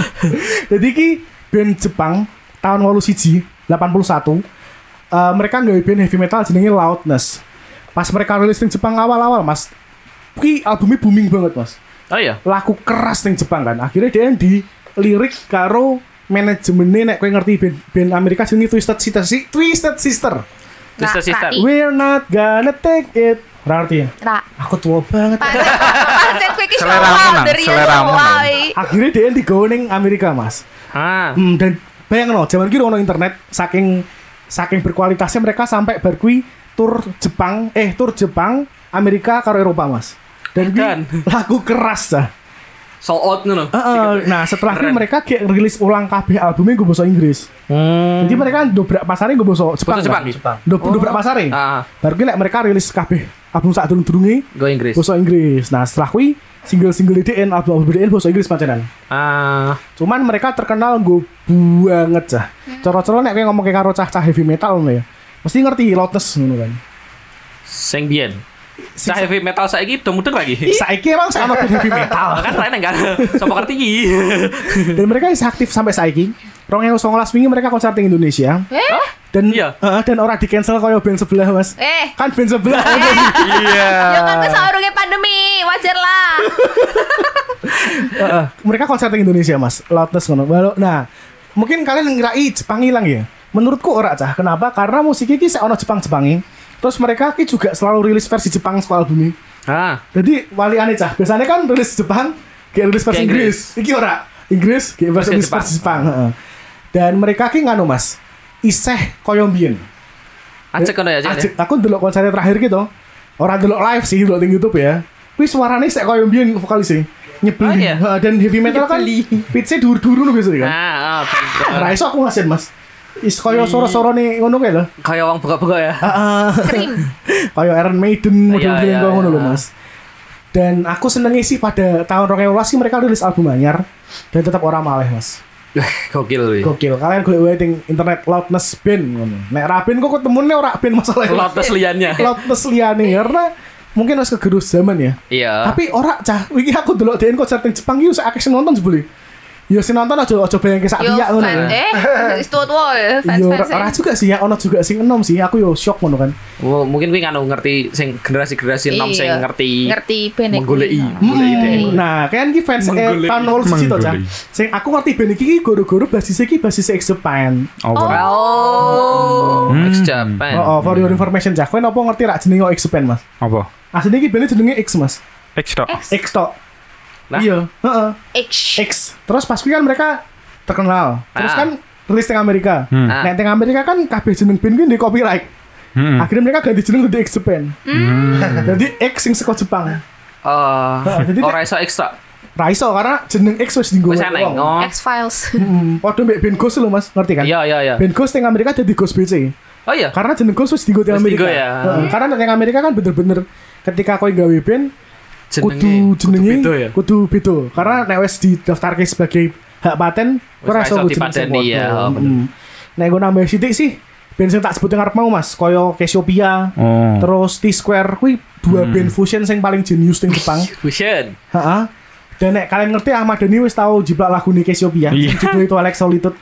Jadi ki band Jepang tahun walu siji 81 eh, mereka nggak band heavy metal jenenge Loudness. Pas mereka rilis di Jepang awal-awal mas, ki albumnya booming banget mas. Oh iya. Laku keras di Jepang kan. Akhirnya dia di lirik karo manajemennya nek kowe ngerti band, band Amerika jenenge Twisted Sister si, Twisted Sister. Nah, Sister Sister. Pak I. We're not gonna take it. Ora ngerti ya? Ora. Aku tua banget. Pancen kuwi iki Seleramu, Nang. Seleramu, Nang. Akhirnya dia di Amerika mas. Ah. Hmm, dan bayang no, zaman kira ono internet saking saking berkualitasnya mereka sampai berkui tur Jepang, eh tur Jepang, Amerika karo Eropa mas. Dan, kui Dan. lagu keras dah. Sold out ngono. Heeh, nah setelah itu Keren. mereka kayak rilis ulang kabeh albumnya gue bahasa Inggris. Jadi mereka dobrak pasarnya gue Hmm. bahasa Jepang. Bahasa Hmm. Jepang. kan? Dob- Dobrak pasarnya. Ah. Baru kui lek mereka rilis kabeh album saat turun turunnya Go Inggris. bahasa Inggris. Nah setelah kui single-single DDN, album-album DDN bahasa Inggris pancenan. Ah. Cuman mereka terkenal gue banget cah. Hmm. Coro-coro nek kowe ngomong kayak karo cah-cah heavy metal ngono ya. Mesti ngerti Lotus ngono kan. Sing biyen. Si- Iya. Cah heavy metal saiki udah mudeng lagi. Saiki emang saya band heavy metal. Kan lain enggak. Sopo ngerti iki. Dan mereka isih aktif sampai saiki. 2019 wingi mereka konser di Indonesia. Eh? Dan Iya. Heeh, dan ora di cancel koyo band sebelah, Mas. Eh. Kan band sebelah. Iya. Ya kan kuwi saurunge pandemi, wajar lah. Heeh. mereka konser di Indonesia, Mas. Lotus ngono. Walau- Nah, mungkin kalian ngirai Jepang hilang ya. Menurutku ora cah. Kenapa? Karena musik iki sak ono Jepang-Jepangi. Terus mereka ki juga selalu rilis versi Jepang sekolah albumnya. Ah. Jadi wali aneh cah. Biasanya kan rilis Jepang, kayak rilis versi Kayak Inggris. Iki ora Inggris, kayak versi Versi Inggris Jepang. versi Jepang. heeh. Dan mereka ki nganu mas, iseh koyo mbiyen. Acek ngono ya, Ajek, Cek. aku delok konsernya terakhir gitu. Orang delok live sih, delok di YouTube ya. Wis suarane sek koyo mbiyen vokalisnya. Nyebel. Oh, di- iya. heeh, dan heavy metal kan pitch-e dur-duru lho biasanya kan. Nah. Ah, Iya. ah, bener. Ra iso aku ngasin mas. Is koyo soro-soro nih ngono kayak lho. kayak wong buka-buka ya. Krim. Ah. kayak Iron Maiden model Iya, film iya, kau ngono iya. lho Mas. Dan aku senengnya sih pada tahun 2018 sih mereka rilis album anyar dan tetap orang maleh Mas. Gokil wih. Gokil. Kalian golek wae ting internet Loudness Band ngono. Nek Rabin kok ketemune ora band masalahnya. Lotus liannya. Loudness liyane karena mungkin harus kegerus zaman ya. Iya. Tapi ora cah, iki aku delok DN konser di Jepang iki usah akeh sing nonton jebule. Ya sing nonton aja aja bayangke sak Yo, riak ngono. fan, ya. eh, Stuart Ya Wall, ora fans-fans. ora juga sih ya, ono juga sing enom sih. Aku yo shock ngono kan. Wo, mungkin gue nganu ngerti sing generasi-generasi enam sing Iya. ngerti ngerti band iki. menggoleki, menggoleki deh. Nah, kan iki fans eh, Menggoleki. tahun 81 to, Cah. Menggoleki. Sing aku ngerti band iki goro-goro basis iki basis X Japan. Oh, Oh. wow. Hmm. Ex Japan. Oh, oh, for your information, Cah. Kowe napa ngerti rak jenenge X Japan, Mas? apa? Asline iki bandnya jenenge X, Mas. X dok. Eh, X tok. Lah? Iya, heeh. X. X. Terus pas kuwi kan mereka terkenal. Terus Ah. kan rilis teng Amerika. Hmm. Nah, teng Amerika kan kabeh jeneng band kuwi di copyright. Hmm. Akhirnya mereka ganti jeneng jadi X Japan. Hmm. Jadi X sing saka Jepang. Oh, Jadi ora iso ekstra. Ra iso karena jeneng X wis dinggo. Wis wong. eneng. Oh. X Files. Hmm, Padha mbek band Ghost lho Mas, ngerti kan? Iya, iya, iya. Band Ghost teng Amerika jadi Ghost BC. Oh iya. Karena jeneng Ghost wis dinggo teng Wis Amerika. dinggo ya. Heeh, Karena teng Amerika kan bener-bener ketika kowe gawe band kudu jenenge beda ya. kudu beda. Karena nek wis didaftarke sebagai hak paten Wis ora ra iso iso wujud sing dipadani ya, padha. oh, bener. Mm. Nek gue nambah sithik sih band sing tak sebut ngarep mau Mas, kaya Cassiopeia, Oh. terus T Square kuwi dua band fusion sing paling jenius teng Jepang. Fusion. Heeh. Dan nek kalian ngerti Ahmad Dhani wis tau jiplak lagu nih Cassiopeia. Iya. Judul itu Alex Solitude.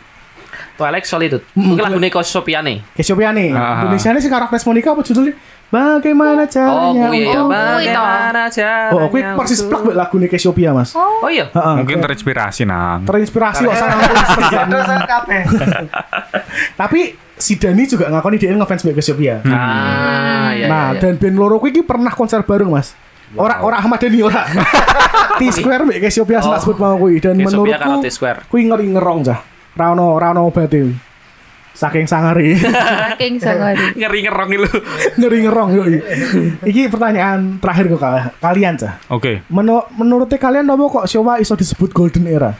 Twilight Solitude. Mm, Mungkin iya. lagune kok Sopiane. Cassiopeia nih. Ah. Indonesia nih sekarang Agnes Monica apa judulnya? Bagaimana Oh, caranya? kuwi ya. Oh, kuwi toh. Bagaimana caranya? Ah, iya. Oh, kuwi persis untuk- plak buat lagu nih Cassiopeia mas. Oh iya. Heeh. Mungkin terinspirasi nang. terinspirasi Eh, kok sama Terus saya kabeh. Tapi si Dani juga ngakoni dia ngefans mbak Cassiopeia. Ah, iya. nah, iya, iya. dan band loro kuwi iki pernah konser bareng mas. Ora ora Ahmad Dhani ora. T Square mbak Cassiopeia sing Oh. tak sebut mau kuwi dan Cassiopeia karo menurutku T Square. kuwi ngeri ngerong cah. Ra ono ra ono obate. Saking sangare. Saking sangari. ngeri ngerong lu. ngeri ngerong yoi. Iki pertanyaan terakhir ke kal- kalian cah. Oke. Menu- menurut kalian nopo kok Showa iso disebut golden era?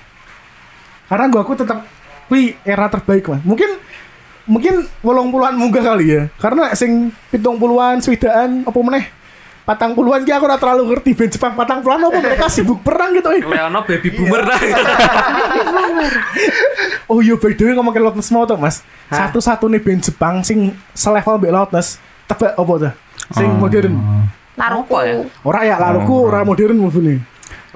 Karena gua aku tetap kui era terbaik mas. Mungkin mungkin wolong puluhan munggah kali ya. Karena sing pitung puluhan, swidaan, apa meneh patang puluhan ki aku ora terlalu ngerti band Jepang patang puluhan apa mereka sibuk perang gitu eh. Leono baby boomer nah. lah. Oh iya by the way ngomongin loudness mau tuh mas Satu-satu nih band Jepang sing selevel mbak loudness Tebak apa tuh? Sing modern Laruku. Apa ya? Ora ya laruku ora modern mungkin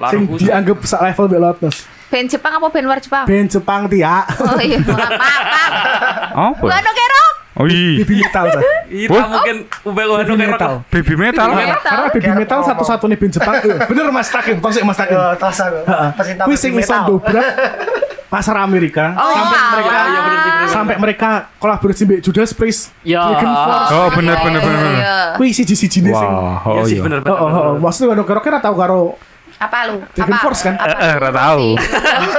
Sing Laruku. dianggap sak level mbak loudness Band Jepang apa band luar Jepang? Band Jepang tiak Oh iya, maaf. Gua Apa? no kero. Oh iya. Baby metal Cah. Iya, Wah. mungkin ubah ubah Baby metal Baby metal. Karena- metal. Karena baby metal satu-satu nih band Jepang Eh, Bener mas takin Tongsik mas takin Yo, terus aku. Pecinta Kuih sing musik iso metal. dobrak Pasar Amerika Sampai mereka iya, bener sih, bener, bener. Sampai mereka kolaborasi mbak Judas Priest Ya. Dragon Force Oh bener bener bener. bener. Iya. Kuih siji-siji nih sing Wah. Iya Oh sih iya. bener Oh, oh, oh. bener. maksudnya Wano Kero kira tahu karo Apa lu? Dragon Apa? Force kan? Apa? Eh, ora tahu.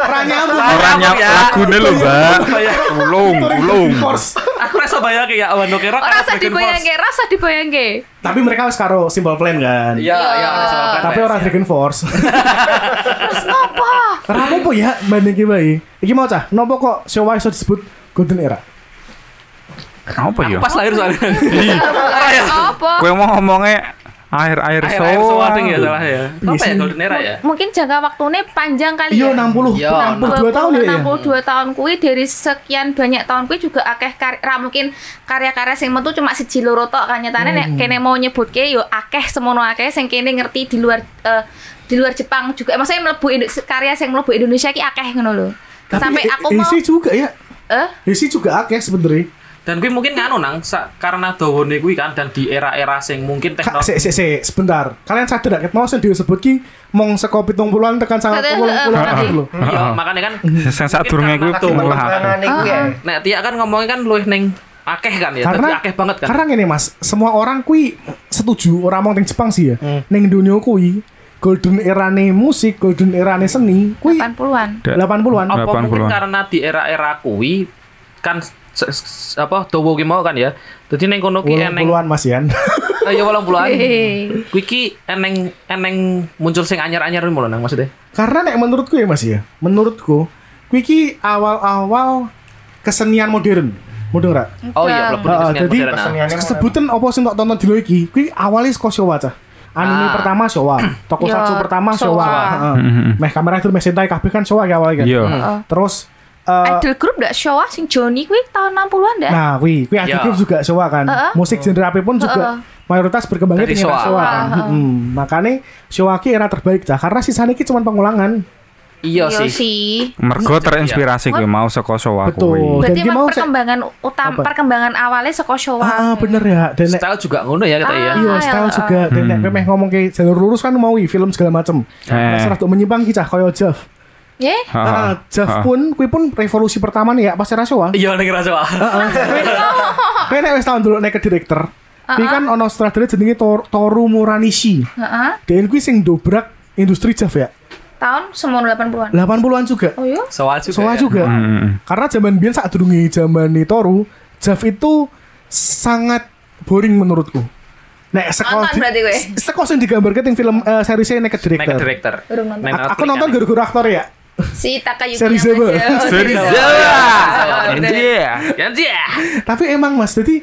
Ra nyambung. Orang nyap Iya. Ya. lagune lho, Mbak. ya? Ulung, Dragon ulung. Force. Aku rasa bayang ya Wano Kero. Ora usah dibayangke, ora usah dibayangke. Tapi mereka harus karo simple plan kan. Iya, iya. Tapi orang Dragon Force. Terus apa? Karena apa ya banding iki bae. Iki mau cah, nopo kok Showa iso disebut Golden Era? Apa ya? Iya. Pas lahir soalnya. Iya. Apa? Kowe mau ngomongnya air-air Air air soa. soa ya salah Iya ya. Apa ya golden era ya? Mungkin jangka waktunya panjang kali Iya ya. 60, Iya, 62 tahun ya. 62 tahun kuwi dari sekian banyak tahun kuwi juga akeh karya ra mungkin karya-karya sing metu cuma siji loro tok kan nyatane Hmm. nek kene mau nyebutke yo akeh semono akeh sing kene ngerti di luar eh, di luar Jepang juga maksudnya mlebu Indo- karya sing mlebu Indonesia ki akeh ngono lho. Tapi Sampai e- aku mau Isi juga ya. eh Isi juga akeh sebenarnya. Dan gue mungkin nganu nang sa- karena dawane gue kan dan di era-era sing mungkin Kak, teknologi sik sik sik, sebentar. Kalian sadar gak mau sing disebut ki mong saka 70-an tekan sangat Kata- 80-an eh, gitu loh. Iya, makanya kan Sing sak durunge kuwi Aku tuh. tangan iku ya. Ah. Nah, Tia kan ngomongnya kan luih neng akeh kan ya, karena tapi akeh banget kan. Karena gini Mas, semua orang kui setuju orang mau teng Jepang sih ya. Hmm. Ning dunia kui golden erane musik, golden erane seni, kui 80-an. 80-an. apa mungkin 80-an. karena di era-era kuwi kan se- se- apa dowo ki mau kan ya. Jadi neng kono ki eneng 80-an Mas Yan. eh, ya walang puluhan. Hehehe. Kuwi ki eneng eneng muncul sing anyar-anyar mulu nang maksudnya. Karena nek menurutku ya Mas ya, menurutku kui ki awal-awal kesenian modern. Mudeng ra? Oh iya, mlebu Ah, neng kesenian jadi modern. ah. Keseniannya mana? Sebutan apa sih untuk tonton dino iki? Kui awalnya saka Showa cah. Anime Ah. Mm-hmm. pertama Showa, tokusatsu Ya, pertama Showa. Showa. Heeh. Meh kamera itu meh sentai kabeh kan Showa ya awalnya kan. Iya. Terus eh, Idol group ndak Showa sing Joni kuwi tahun 60-an ndak? Nah, kui, kui Adi Ya. Group juga Showa kan. Heeh. Musik genre apapun juga mayoritas berkembangnya di Dari era Showa. Showa kan. Heeh. Makanya Showa ki era terbaik cah. Karena sisanya ki cuma pengulangan. Iya sih. sih. Mergo terinspirasi gue mau saka sowa Iya. Betul. kuwi. Dan ki Berarti emang Oh, mau sek- perkembangan utama apa? perkembangan awalnya saka Ah, Showa. bener ya. Dan nek- Style juga ngono ya kata ya. Hmm. Iya, Ah, style ya, juga. Dan nek memeh ngomong ke jalur lurus kan mau i, film segala macem. Eh. Nah, serah tuh menyimpang kita koyo Jeff. Ya. Ah, Jeff pun, kui pun revolusi pertama nih ya pas era Showa. Iya nek rasa Pak. Iya. Kowe nek wis tahun dulu nek ke direktur. Kuwi kan ono sutradara jenenge Tor- Toru Muranishi. Heeh. Dan kuwi sing dobrak industri Jeff ya. Tahun 1980-an. 80-an juga. Oh iya. Soal juga. Sowa ya. juga. Hmm. Karena zaman biyen saat durungi zaman Toru, Jeff itu sangat boring menurutku. Nek sekolah Nonton berarti kowe? sekolah yang digambarkan yang film eh, serisnya Naked Nek Director. director. Urung nonton. Nek A- aku Netflix nonton kan. gara-gara aktor ya. Si Takayuki Serizawa. Yamada. Ah. Serizawa. Nah, Iya. Ganti ya. Tapi emang Mas, jadi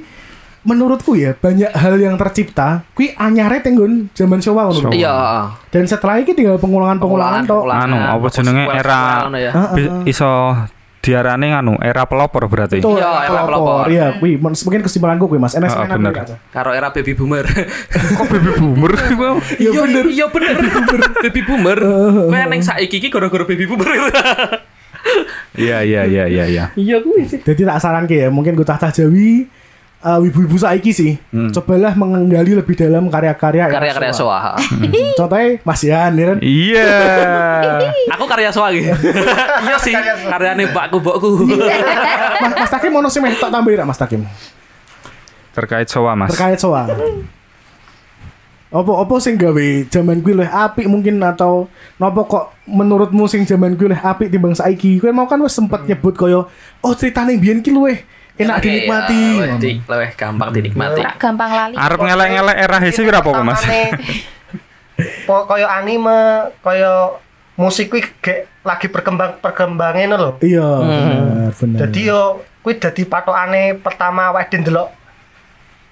menurutku ya banyak hal yang tercipta kui anyare tenggon zaman Showa ngono. Showa. Iya. Dan setelah ini tinggal pengulangan-pengulangan tok. Anu, apa jenenge era Anu, ya? bi- iso diarani anu era pelopor berarti. Betul, Iya, era pelopor. Iya, kui men- mungkin kesimpulanku kui Mas. Enak Oh, enak bener. aja. Karo era baby boomer. Kok baby boomer sih Bang? Iya bener. Iya bener baby boomer. Baby boomer. Kayak neng saiki iki gara-gara baby boomer. Iya iya iya iya iya. Iya kuwi sih. Jadi tak saranke ya, mungkin gue tata Jawi eh, ibu-ibu saiki sih. Hmm. Cobalah menggali lebih dalam karya-karya era Karya-karya Soa. Hmm. Contohnya Mas Yan ya kan. Iya. Aku karya Soa gitu. Iya sih. Karyane mbakku mbokku. Mas, Mas Takim mau sih meh, tak tambahin nggak, Mas Takim. Terkait sowa Mas. terkait soal opo opo sing gawe zaman kuwi luwih apik mungkin atau nopo kok menurutmu sing zaman kuwi luwih apik timbang saiki kowe mau kan wis sempet Hmm. nyebut koyo oh ceritane biyen ki luwih ya, enak dinikmati Lebih Iya. gampang dinikmati. Oh, Tak gampang lali. Ah. Arep ngelek-ngelek era hese pira apa Mas? Iya. Po- koyo anime, koyo musik kuwi gek lagi perkembang perkembangin lho. iya Hmm. bener bener Jadi yo kuwi dadi patokane pertama awake dhewe ndelok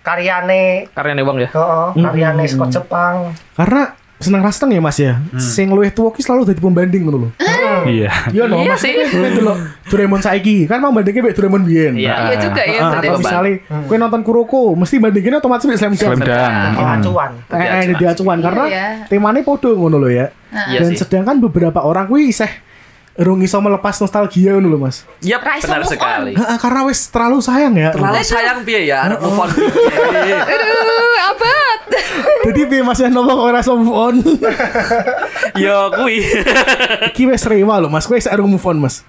karyane Karyane wong ya. heeh, karyane saka Jepang. karena seneng rasteng ya mas ya sing luwih tuwa ki selalu dadi pembanding ngono lho Iya. iya no Iya mas sih. kowe delok Doraemon saiki kan mau bandingnya mek Doraemon biyen Iya. Iya juga ya Ah, berarti. atau misalnya kowe nonton Kuroko mesti bandingin otomatis mek Slam Dunk Slam dunk. Jadi Hmm. acuan. Eh, eh, Jadi jadi acuan karena Iya. temanya podo ngono lho ya. Iya Dan sih. sedangkan beberapa orang kuwi iseh rung iso melepas nostalgia ngono lho Mas. Yap, Rai benar Somo sekali. Heeh, karena wis terlalu sayang ya. Terlalu sayang piye ya, arep move on. piye. Aduh, abad. Jadi piye Mas yang nopo kok ora iso move on? Ya kuwi. Iki wis rewa lho Mas, kowe isih rung move on Mas.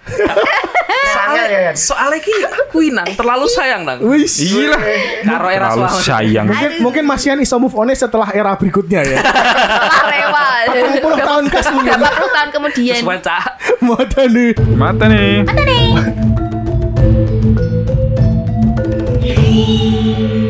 Sangat ya. Yan. Soalnya ki kuwi nang terlalu sayang nang. Wis. Iya lah. Karo era Terlalu Soa. sayang. Mungkin mungkin Mas Yan iso move on setelah era berikutnya ya. Rewa. 10 tahun kas mungkin. 40 tahun kemudian. Wes cah. Mata nih. Mata nih. Dadah.